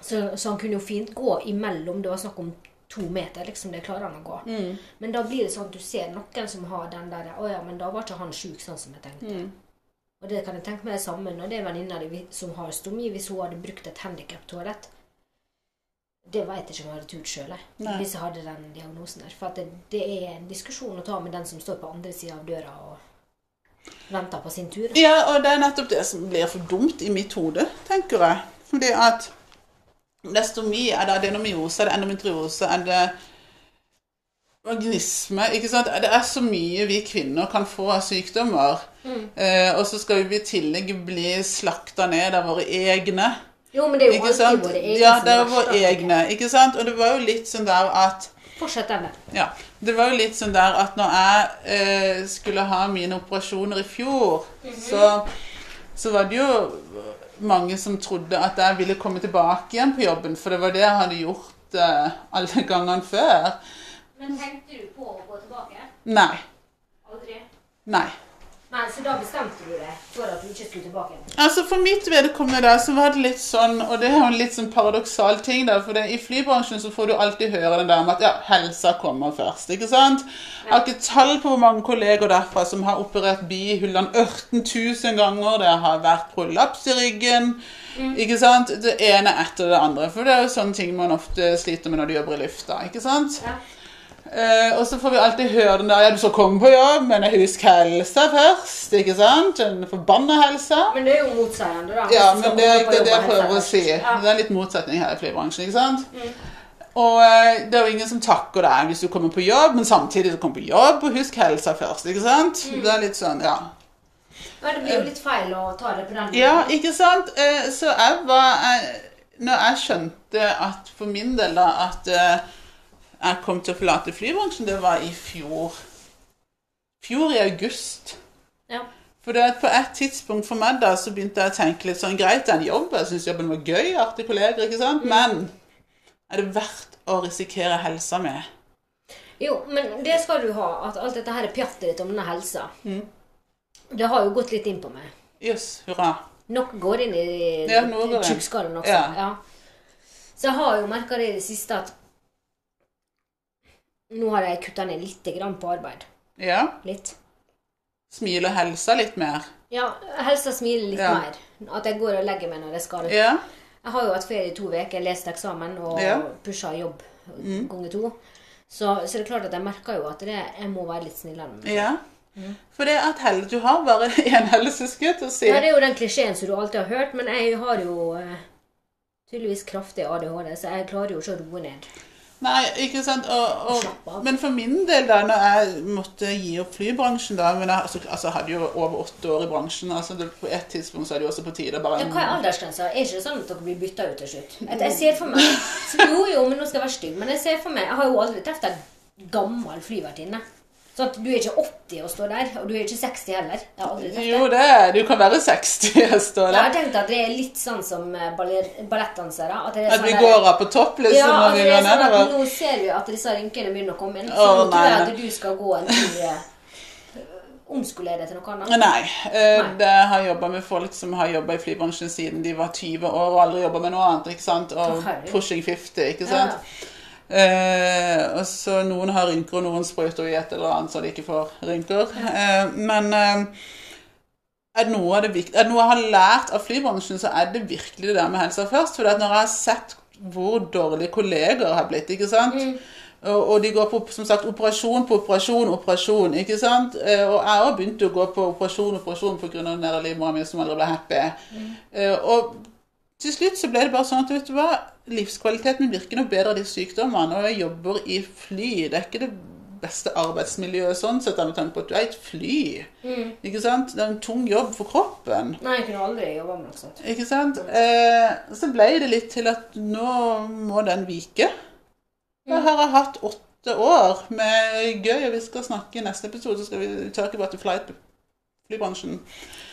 B: Så, så han kunne jo fint gå imellom. Det var snakk om to meter, liksom. Det klarer han å gå.
A: Mm.
B: Men da blir det sånn at du ser noen som har den derre 'Å ja, men da var ikke han sjuk sånn som jeg tenkte'.
A: Mm.
B: Og det kan jeg tenke meg er sammen når det er venninna di som har stomi, hvis hun hadde brukt et handikaptoalett. Det vet jeg ikke om jeg hadde turt sjøl,
A: Nei.
B: hvis jeg hadde den diagnosen der. For at det, det er en diskusjon å ta med den som står på andre sida av døra og venter på sin tur.
A: Ja, og det er nettopp det som blir for dumt i mitt hode, tenker jeg. Fordi at lestomi er det adenomyose, er det endometriose, er det organisme ikke sant? Det er så mye vi kvinner kan få av sykdommer.
B: Mm.
A: Eh, og så skal vi i tillegg bli slakta ned av våre egne.
B: Jo, men det er jo
A: Ikke
B: alltid
A: sant?
B: våre egne
A: Ja,
B: som
A: det er e-
B: verst,
A: våre
B: da.
A: egne. Ikke sant? Og det var jo litt sånn der at
B: Fortsett den der.
A: ja, det var jo litt sånn der at når jeg eh, skulle ha mine operasjoner i fjor, så, så var det jo mange som trodde at jeg ville komme tilbake igjen på jobben, for det var det jeg hadde gjort eh, alle gangene før.
B: Men tenkte du på å gå tilbake?
A: Nei.
B: Aldri.
A: Nei.
B: Nei, så da bestemte du deg for at du ikke skulle tilbake igjen.
A: Altså For mitt vedkommende da, så var det litt sånn, og det er jo en litt sånn paradoksal ting, da, for det, i flybransjen så får du alltid høre den der med at ja, helsa kommer først. ikke sant? Jeg har ikke tall på hvor mange kolleger derfra som har operert bihullene 18 000 ganger, det har vært prolaps i ryggen, ikke sant? Det ene etter det andre. For det er jo sånne ting man ofte sliter med når du jobber i lufta. ikke sant?
B: Ja.
A: Eh, og så får vi alltid høre den der Ja, du skal komme på jobb, men husk helsa først. ikke sant? Den forbanna helsa.
B: Men det er jo motseiende, da.
A: Ja,
B: Hvis du skal
A: men det,
B: komme
A: er-
B: på
A: det er det jeg
B: jobb og
A: prøver å
B: helse
A: si.
B: først. Ja.
A: Det er litt motsetning her i flybransjen, ikke sant?
B: Mm.
A: Og eh, det er jo ingen som takker deg hvis du kommer på jobb, men samtidig så kommer du på jobb, og husk helsa først, ikke sant?
B: Mm.
A: Det er litt sånn, ja.
B: Men det blir jo litt feil å ta det på den
A: Ja, ikke sant? Eh, Så jeg var jeg, Når jeg skjønte at for min del da, at eh, jeg kom til å forlate flybransjen, det var i fjor. Fjor i august.
B: Ja.
A: For det at på et tidspunkt for meg da, så begynte jeg å tenke litt sånn, greit, det er en jobb, jeg synes jobben var gøy, artig kolleger, ikke sant?
B: Mm.
A: Men er det verdt å risikere helsa med?
B: Jo, men det skal du ha. At alt dette her pjattet ditt om denne helsa,
A: Mm.
B: det har jo gått litt inn på meg.
A: Jøss, hurra.
B: Noe går inn i
A: Ja, noe går inn.
B: tjukkskallen også.
A: Ja.
B: Ja. Så jeg har jo merka det i det siste at nå har jeg kutta ned litt grann på arbeid.
A: Ja,
B: Litt.
A: smil og helsa litt mer.
B: Ja, helsa smiler litt
A: Ja.
B: mer. At jeg går og legger meg når jeg skal.
A: Ja,
B: Jeg har jo hatt ferie i to uker, lest eksamen og
A: Ja. Mm.
B: pusha jobb ganger to. Så, så det er klart at jeg merker jo at det, jeg må være litt snillere. med meg.
A: ja.
B: Mm.
A: For det at hel, du har bare en helseskutt å si.
B: Ja, det er jo den klisjeen som du alltid har hørt, men jeg har jo eh, tydeligvis kraftig ADHD, så jeg klarer jo ikke å roe ned.
A: Nei, ikke sant. Og,
B: Slapp
A: og,
B: av.
A: men for min del, da, når jeg måtte gi opp flybransjen da men jeg, altså, altså, jeg hadde jo over åtte år i bransjen. altså det, På et tidspunkt så er det jo også på tide å bare
B: Ja, hva er aldersgrensa? Er ikke det sånn at dere blir bytta ut til slutt? At jeg ser for meg så, Jo, jo, men nå skal jeg være stygg, men jeg ser for meg Jeg har jo aldri truffet ei gammel flyvertinne. Sånn at du er ikke 80 og står der, og du er ikke 60 heller. Jeg har aldri truffet
A: Jo, det er Du kan være 60 og stå
B: Jeg
A: der.
B: har tenkt at det er litt sånn som eh, baller- ballettdansere. At, det er
A: At
B: sånn
A: vi
B: der-
A: går av på topp, liksom,
B: ja,
A: når
B: at
A: vi
B: det er
A: går
B: sånn at
A: nedover.
B: nå ser vi at disse rynkene begynner å komme inn. Så
A: Å,
B: nå tror jeg
A: nei.
B: at du skal gå en tur eh, Omskolere deg til noe annet.
A: Nei. eh,
B: Nei.
A: Det jeg har jobba med folk som har jobba i flybransjen siden de var 20 år og aldri jobba med noe annet, ikke sant?
B: Å,
A: Og
B: herregud.
A: pushing 50, ikke
B: Ja.
A: sant? Eh, og så noen har rynker, og noen sprøyter i et eller annet så de ikke får rynker. Eh, men eh, er det noe, av det vikt- er det noe jeg har lært av flybransjen, så er det virkelig det der med helsa først. For når jeg har sett hvor dårlige kolleger har blitt, ikke sant og, og de går på som sagt, operasjon på operasjon, operasjon. ikke sant? Eh, og jeg òg begynte å gå på operasjon operasjon pga. den der livmora mi som aldri ble happy. Eh, og til slutt så ble det bare sånn at vet du hva, livskvaliteten min virker noe bedre av de sykdommene. Og jeg jobber i fly. Det er ikke det beste arbeidsmiljøet sånn sett, med tanke på at du er i et fly.
B: Mm.
A: Ikke sant? Det er en tung jobb for kroppen.
B: Nei, jeg kunne aldri jobba med noe sånt.
A: Ikke sant? Eh, så ble det litt til at nå må den vike.
B: Mm.
A: Jeg har jeg hatt åtte år med gøy, og vi skal snakke i neste episode, så skal vi tørke bare til flight, flybransjen.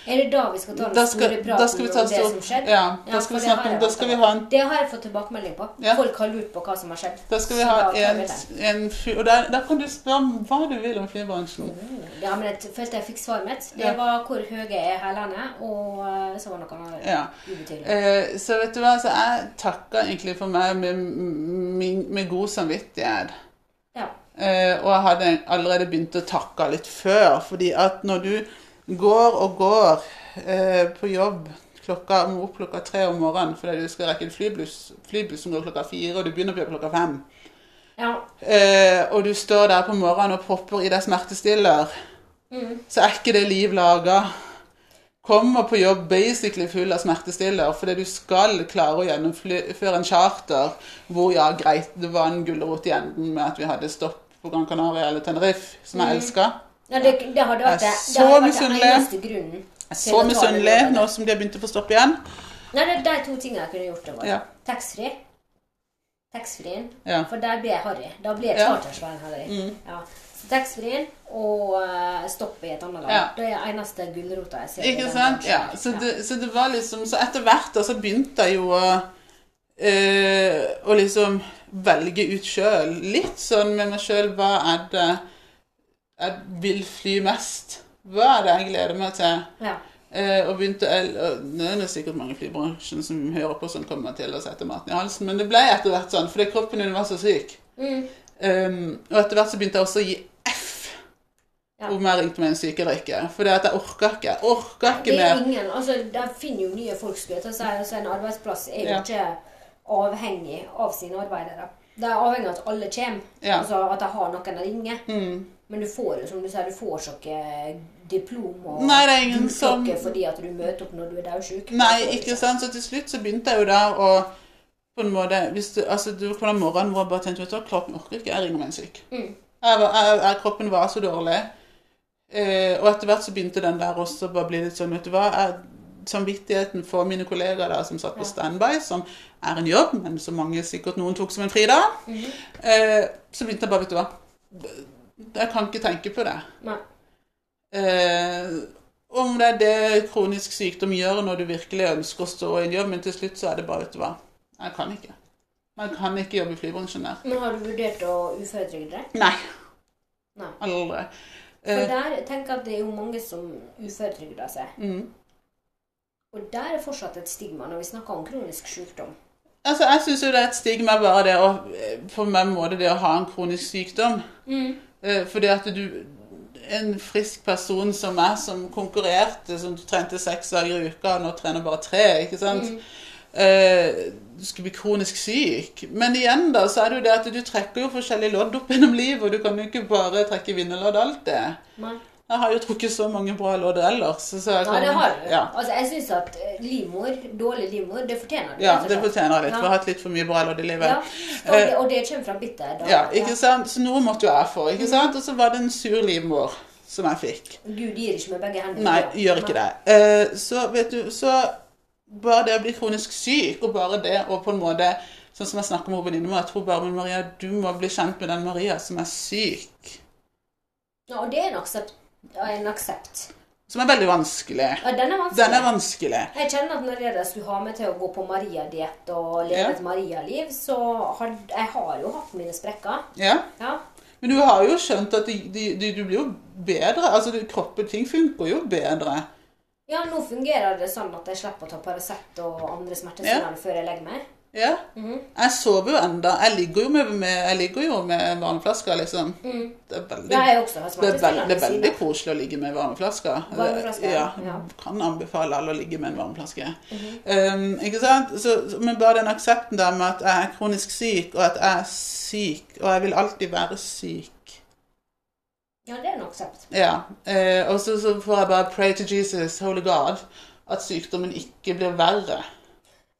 B: Er det da vi skal ta den
A: Da skal,
B: store
A: da
B: praten
A: skal vi
B: om
A: ta
B: det
A: stor...
B: som skjedde?
A: Ja, da
B: for
A: skal vi
B: det har
A: snakke
B: jeg
A: om... Da
B: vært
A: skal vi
B: om.
A: ha en
B: Det har jeg fått tilbakemelding på.
A: Ja.
B: Folk har lurt på hva som har skjedd.
A: Da skal
B: Så
A: vi ha
B: da tar
A: en,
B: vi den.
A: en fyr Og der, der kan du spørre om hva du vil om flybransjen.
B: Ja, men jeg følte jeg fikk svaret mitt. Det
A: Ja.
B: var hvor høye er hælene, og eh, så var det noe annet
A: Ja.
B: ubetydelig.
A: Eh, så vet du hva, så jeg takker egentlig for meg med, med, med god samvittighet.
B: Ja.
A: Eh, og jeg hadde allerede begynt å takke litt før, fordi at når du går og går eh, på jobb klokka, må opp klokka tre om morgenen fordi du skal rekke en flybuss, flybuss som går klokka fire, og du begynner på jobb klokka fem.
B: Ja.
A: Eh, og du står der på morgenen og propper i deg smertestiller, så er ikke det liv laga. Kommer på jobb basically full av smertestiller fordi du skal klare å gjennomføre en charter hvor ja, greit, det var en gulrot i enden med at vi hadde stopp på Gran Canaria eller Tenerife, som jeg elsker.
B: ja det, det hadde vært det.
A: Jeg
B: Det
A: er så
B: hadde vært den
A: misunnelig.
B: eneste grunnen. til
A: Så
B: å ta det
A: misunnelig
B: jobbet.
A: nå som de har begynt å få stopp igjen.
B: Nei, det er de to tingene jeg kunne gjort. det var
A: Ja.
B: Taxfree. Taxfree-en.
A: Ja.
B: For der blir jeg harry. Da blir jeg
A: Ja. Mm.
B: chartersvenn harry. Ja. Så Taxfree-en og eh, stopp i et annet land.
A: Ja.
B: Det er eneste gulrota jeg ser. i
A: Ikke
B: den
A: sant? Ja,
B: bransjen.
A: så, det, så det var liksom Så etter hvert da, så begynte jeg jo å eh, Å liksom velge ut sjøl. Litt sånn med meg sjøl Hva er det jeg vil fly mest? Hva er det jeg gleder meg til?
B: Ja.
A: Eh, og begynte el- og Nå er det sikkert mange i flybransjen som hører på som kommer til å sette maten i halsen, men det ble etter hvert sånn fordi kroppen din var så syk.
B: Mm.
A: Um, og etter hvert så begynte jeg også å gi F
B: Ja.
A: om jeg ringte meg en sykedrikke. For jeg orka ikke. Jeg orka
B: Det
A: ikke
B: er
A: mer.
B: ingen, altså, Der finner jo nye folk, skulle jeg til å si. Altså, en arbeidsplass er jo
A: Ja.
B: ikke avhengig av sine arbeidere. Det er avhengig av at alle kommer,
A: Ja. Mm.
B: altså at de har noen å ringe. Men du får jo, som du sier, du får ikke eh, diplom og
A: Nei, det er ingen
B: gullklokke
A: som-
B: fordi at du møter opp når du er daudsjuk.
A: Nei, ikke sant. Så til slutt så begynte jeg jo der å på en måte, hvis du, altså du kom den morgenen hvor jeg bare tenkte vet du hva, kroppen orker ikke, jeg ringer meg en syk.
B: Mm.
A: Jeg var, jeg, jeg, kroppen var så dårlig. Eh, og etter hvert så begynte den der også å bare bli litt sånn, vet du hva jeg, Samvittigheten for mine kollegaer der som satt på standby, som er en jobb, men som mange sikkert noen tok som en fridag,
B: Mm-hmm.
A: eh, så begynte jeg bare, vet du hva Jeg kan ikke tenke på det.
B: Nei.
A: Eh, om det er det kronisk sykdom gjør når du virkelig ønsker å stå i en jobb, men til slutt så er det bare, vet du hva, jeg kan ikke. Man kan ikke jobbe i flybransjen der.
B: Men har du vurdert å uføretrygde deg?
A: Nei.
B: Nei.
A: Aldri.
B: For
A: Eh,
B: der tenker jeg at det er jo mange som uføretrygder seg.
A: mm.
B: Og der er fortsatt et stigma når vi snakker om kronisk sykdom.
A: Altså, jeg syns jo det er et stigma bare det å På min måte det å ha en kronisk sykdom.
B: Mm.
A: Eh, Fordi at du En frisk person som meg, som konkurrerte, som trente seks dager i uka, og nå trener bare tre, ikke sant
B: Mm.
A: eh, Du skal bli kronisk syk. Men igjen, da, så er det jo det at du trekker jo forskjellige lodd opp gjennom livet, og du kan jo ikke bare trekke vinnerlodd alltid.
B: Nei.
A: Jeg har jo trukket så mange bra lodd ellers. Så jeg
B: Ja, det har du.
A: Ja.
B: Altså, jeg syns at eh, livmor, dårlig livmor, det fortjener du.
A: ja,
B: rett og
A: det
B: slett.
A: fortjener jeg litt. for Jeg
B: Ja.
A: har hatt litt for mye bra lodd i livet. Eh,
B: Ja. Og, det, og det kommer fra bitter da.
A: Ja, ikke sant? Så noe måtte jo jeg få, ikke sant? Og så var det en sur livmor som jeg fikk.
B: Gud gir ikke med begge hender.
A: Nei,
B: Ja.
A: gjør ikke det. Eh, Så vet du, så bare det å bli kronisk syk, og bare det å på en måte Sånn som jeg snakker med venninnen min, jeg tror bare men Maria, du må bli kjent med den Maria som er syk.
B: Ja, og det er en aksept. ja, En aksept.
A: Som er veldig vanskelig.
B: Ja, den er vanskelig.
A: Den er vanskelig.
B: Jeg kjenner at når dere skulle ha meg til å gå på Maria-diett og leve
A: Ja.
B: et Maria-liv, så har jeg har jo hatt mine sprekker.
A: Ja.
B: Ja.
A: Men du har jo skjønt at de- de- de- du blir jo bedre. Altså, du- kroppen Ting funker jo bedre.
B: ja, nå fungerer det sånn at jeg slipper å ta Paracet og andre smertestillende før jeg legger meg.
A: Ja. Jeg sover jo enda. Jeg ligger jo med, med, jeg ligger jo med varmeflasker, liksom. Det er veldig,
B: Ja, jeg har også hatt
A: det er veldig, det
B: smertestillende
A: er veldig
B: siden.
A: koselig å ligge med varmeflasker.
B: Varmeflasker,
A: ja.
B: ja. Mhm.
A: Kan anbefale alle å ligge med en varmeflaske. um, ikke sant? Så, så- men bare den aksepten der med at jeg er kronisk syk, og at jeg er syk, og jeg vil alltid være syk.
B: Ja, det er en aksept.
A: Ja. eh, og så, så får jeg bare pray to Jesus, holy God, at sykdommen ikke blir verre.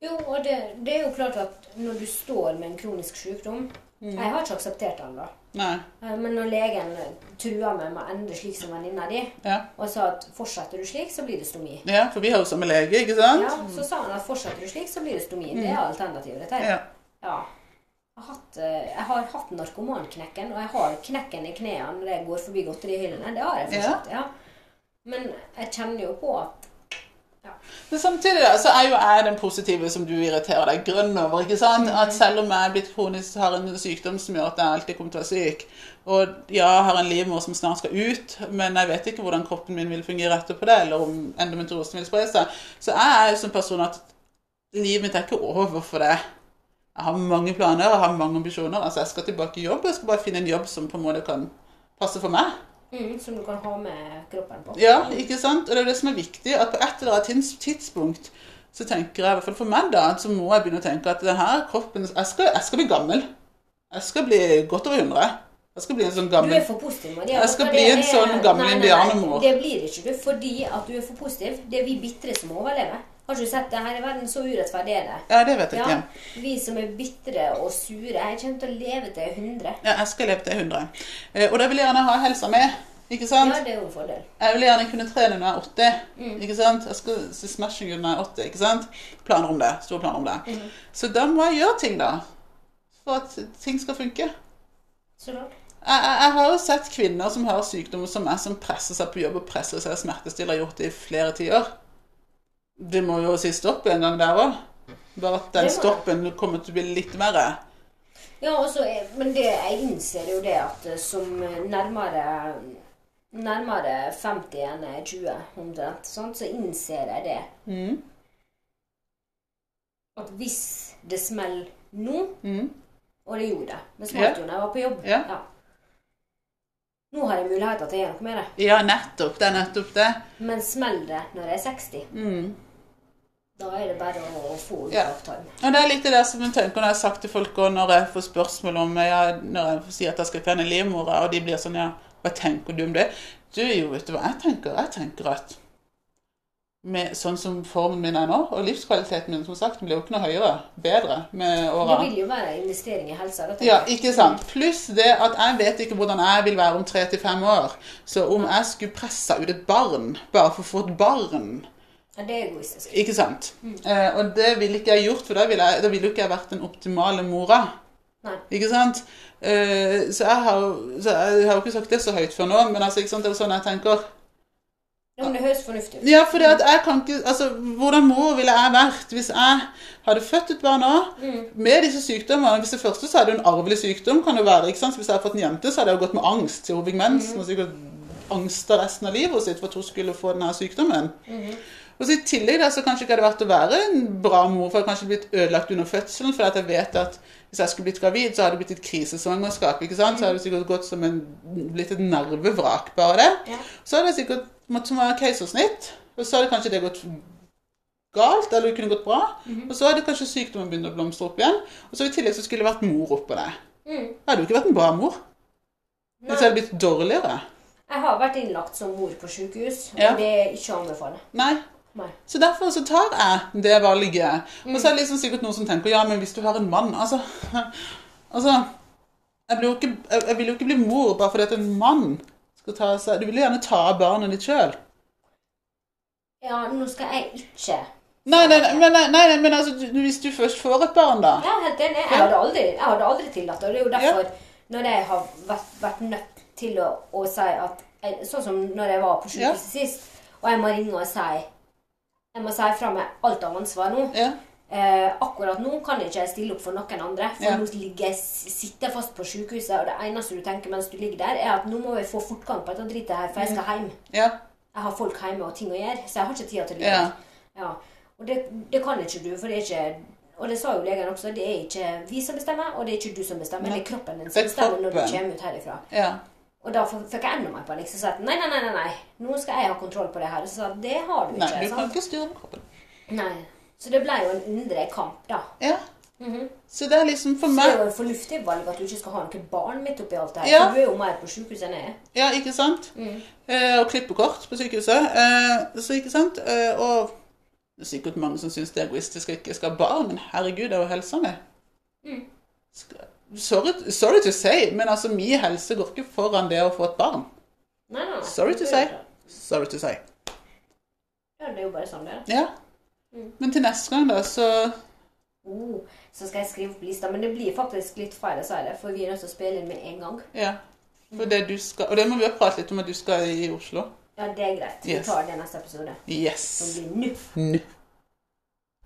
B: Jo, og det, det er jo klart at når du står med en kronisk sykdom
A: Mm.
B: Jeg har ikke akseptert den, da.
A: Nei.
B: Eh, Men når legen trua meg med å endre slik som venninna di,
A: Ja.
B: og sa at fortsetter du slik, så blir det stomi.
A: ja, for vi har jo samme lege, ikke sant?
B: Ja, Så sa han at fortsetter du slik, så blir det stomi. Det er alternativet dette her.
A: Mm. Ja.
B: Ja. Jeg har hatt, eh, jeg har hatt narkomanknekken, og jeg har knekken i knærne når jeg går forbi godterihyllene. Det har jeg fortsatt. ja. Men jeg kjenner jo på at
A: Men samtidig da, så er jo jeg den positive som du irriterer deg grønn over. ikke sant? At selv om jeg er blitt kronisk, har en sykdom som gjør at jeg alltid kommer til å være syk, og ja, har en livmor som snart skal ut, men jeg vet ikke hvordan kroppen min vil fungere etterpå det, eller om endometriosen vil spre seg, så jeg er jo som person at livet mitt er ikke over for det. Jeg har mange planer, jeg har mange ambisjoner. altså Jeg skal tilbake i jobb, jeg skal bare finne en jobb som på en måte kan passe for meg.
B: mm, Som du kan ha med kroppen på.
A: Ja, ikke sant? Og det er jo det som er viktig, at på et eller annet tids- tidspunkt så tenker jeg, i hvert fall for meg da, så må jeg begynne å tenke at denne kroppen, jeg skal, jeg skal bli gammel. Jeg skal bli godt over 100. Jeg skal bli en sånn
B: Du
A: gammel
B: er for positiv. Maria.
A: Jeg skal
B: Det
A: bli en
B: er-
A: sånn gammel
B: Nei, nei, nei,
A: indianermor.
B: Det blir ikke du fordi at du er for positiv. Det er vi bitre som overlever. Har ikke du sett det her i verden? Så urettferdig er det.
A: Ja, det vet jeg
B: Ja,
A: ikke.
B: vi som er bitre og sure. Jeg kommer til å leve til jeg er 100.
A: Ja, jeg skal leve til jeg er 100. Eh, Og da vil jeg gjerne ha helsa med. Ikke sant?
B: Ja, Mm. det er jo en fordel.
A: Jeg vil gjerne kunne trene når jeg er 80. ikke sant? Jeg skal se smashing ut når jeg er 80. ikke sant? Planer om det. Store planer om det.
B: Mm.
A: Så da må jeg gjøre ting, da. For at ting skal funke.
B: Så klart.
A: Jeg, jeg, jeg har jo sett kvinner som har sykdommer som meg, som presser seg på jobb og presser seg smertestillende, har gjort det i flere tiår. Det må jo si stopp en gang der òg. Bare at den
B: Det må det.
A: stoppen kommer til å bli litt verre.
B: Ja, og så er- men det, jeg innser jo det at eh, som nærmere Nærmere 50 enn jeg er 20, omtrent, sant? så innser jeg det.
A: Mm.
B: At hvis det smeller nå,
A: Mm.
B: og det gjorde det, det smalt jo når jeg var på jobb
A: Ja.
B: Nå har jeg muligheter til å gjøre noe med det,
A: Ja, nettopp. Det er nettopp det.
B: men smeller det når jeg er 60,
A: Mm.
B: da er det bare å få ut
A: Ja.
B: avtalen.
A: Ja, det er litt det der som jeg tenker når jeg har sagt til folk, og når jeg får spørsmål om ja, Når jeg sier at jeg skal fjerne livmora, og de blir sånn Ja, hva tenker du om det? Du, jo, vet du hva jeg tenker? Jeg tenker at med, sånn som formen min er nå, og livskvaliteten min, som sagt, blir jo ikke noe høyere. Bedre med
B: Det
A: åra.
B: vil jo være en investering i helsa. da, tenker
A: Ja,
B: jeg.
A: ikke sant. Pluss det at jeg vet ikke hvordan jeg vil være om tre til fem år. Så om jeg skulle presse ut et barn, bare for å få et barn
B: Ja, det er egoistisk.
A: ikke sant? Eh, og det ville ikke jeg gjort, for da ville, jeg, da ville jo ikke jeg vært den optimale mora.
B: Nei.
A: Ikke sant? Eh, så jeg har jo så jeg har jo ikke sagt det så høyt før nå, men altså, ikke sant? det er jo sånn jeg tenker.
B: Ja, men det høres fornuftig ut.
A: Ja, fordi at jeg kan ikke Altså, hvordan mor ville jeg vært hvis jeg hadde født et barn nå, med disse sykdommene? Hvis det første så er det jo en arvelig sykdom, kan det være. ikke sant? Så hvis jeg hadde fått en jente, så hadde jeg jo gått med angst til hun fikk mens. og sikkert angsta resten av livet sitt for at hun skulle få denne sykdommen. Og så I tillegg da, så kanskje ikke hadde vært å være en bra mor, for jeg hadde kanskje blitt ødelagt under fødselen. For at jeg vet at hvis jeg skulle blitt gravid, så hadde det blitt et krisesvangerskap. ikke sant? Så hadde det sikkert gått som en, blitt et nervevrak, bare det.
B: Ja.
A: Så hadde jeg sikkert måttet være keisersnitt, og så hadde kanskje det gått galt, eller det kunne gått bra.
B: Mhm.
A: Og så hadde kanskje sykdommen begynt å blomstre opp igjen. Og så i tillegg så skulle det vært mor oppå det.
B: Mm.
A: Jeg hadde jo ikke vært en bra mor.
B: Nei.
A: Hvis jeg hadde blitt dårligere.
B: Jeg har vært innlagt som mor på sykehus, og
A: Ja.
B: det er ikke å anbefale.
A: Nei.
B: Nei.
A: Så derfor så tar jeg det valget. Og så er det liksom sikkert noen som tenker ja, men hvis du har en mann Altså, altså jeg, blir jo ikke, jeg, jeg vil jo ikke bli mor bare fordi at en mann skal ta seg Du vil jo gjerne ta av barnet ditt sjøl.
B: Ja, nå skal jeg ikke
A: Nei, nei, nei, men- nei, nei, men altså, du- hvis du først får et barn, da
B: Jeg er helt enig. Jeg hadde aldri, jeg hadde aldri tillatt det. Og det er jo derfor, når jeg har vært, vært nødt til å, å si at jeg, Sånn som når jeg var på
A: Ja.
B: sykehuset sist, og jeg må ringe og si Jeg må si fra meg alt av ansvar nå.
A: ja.
B: Eh, akkurat nå kan ikke jeg stille opp for noen andre. For
A: Ja.
B: nå ligger jeg, s- sitter jeg fast på sykehuset, og det eneste du tenker mens du ligger der, er at nå må jeg få fortgang på dette dritet her, for jeg skal hjem.
A: Ja.
B: jeg har folk hjemme og ting å gjøre, så jeg har ikke tida til å ligge
A: Ja.
B: der. Ja. Og det, det kan ikke du, for det er ikke Og det sa jo legen også, det er ikke vi som bestemmer, og det er ikke du som bestemmer, det er kroppen din
A: Det
B: som
A: er
B: bestemmer når du
A: kroppen.
B: kommer ut herifra.
A: ja.
B: Og da f- fikk jeg enda mer panikk, så sa jeg nei, nei, nei, nei, nei, nå skal jeg ha kontroll på det her. Og så sa jeg det har du ikke.
A: Nei, du kan
B: sant?
A: ikke styre kroppen.
B: Nei. Så det ble jo en indre kamp, da.
A: Ja. Så det er liksom for
B: Så det er
A: meg
B: jo et fornuftig valg at du ikke skal ha noen barn midt oppi alt det her.
A: Ja.
B: For du er jo mer på sjukehuset enn jeg er.
A: Ja, ikke sant? Eh, og klippekort på sykehuset. Eh, så ikke sant? Eh, og det er sikkert mange som syns det er egoistisk å ikke skal ha barn, men herregud, det er jo helsa mi. Skal- Sorry, sorry to say, men altså, min helse går ikke foran det å få et barn.
B: Nei, nei, nei.
A: Sorry to
B: Det er
A: say.
B: jo bra.
A: Sorry to say.
B: Ja, det er jo bare sånn det er.
A: Ja. Men til neste gang, da, så
B: Oh, så skal jeg skrive på lista, men det blir faktisk litt feil å si det, for vi er nødt til å spille inn med en gang.
A: Ja. For det du skal Og det må vi jo prate litt om at du skal i Oslo.
B: Ja, det er greit. Vi
A: Yes.
B: tar det i neste episode.
A: Yes.
B: Det blir nå.
A: Nå.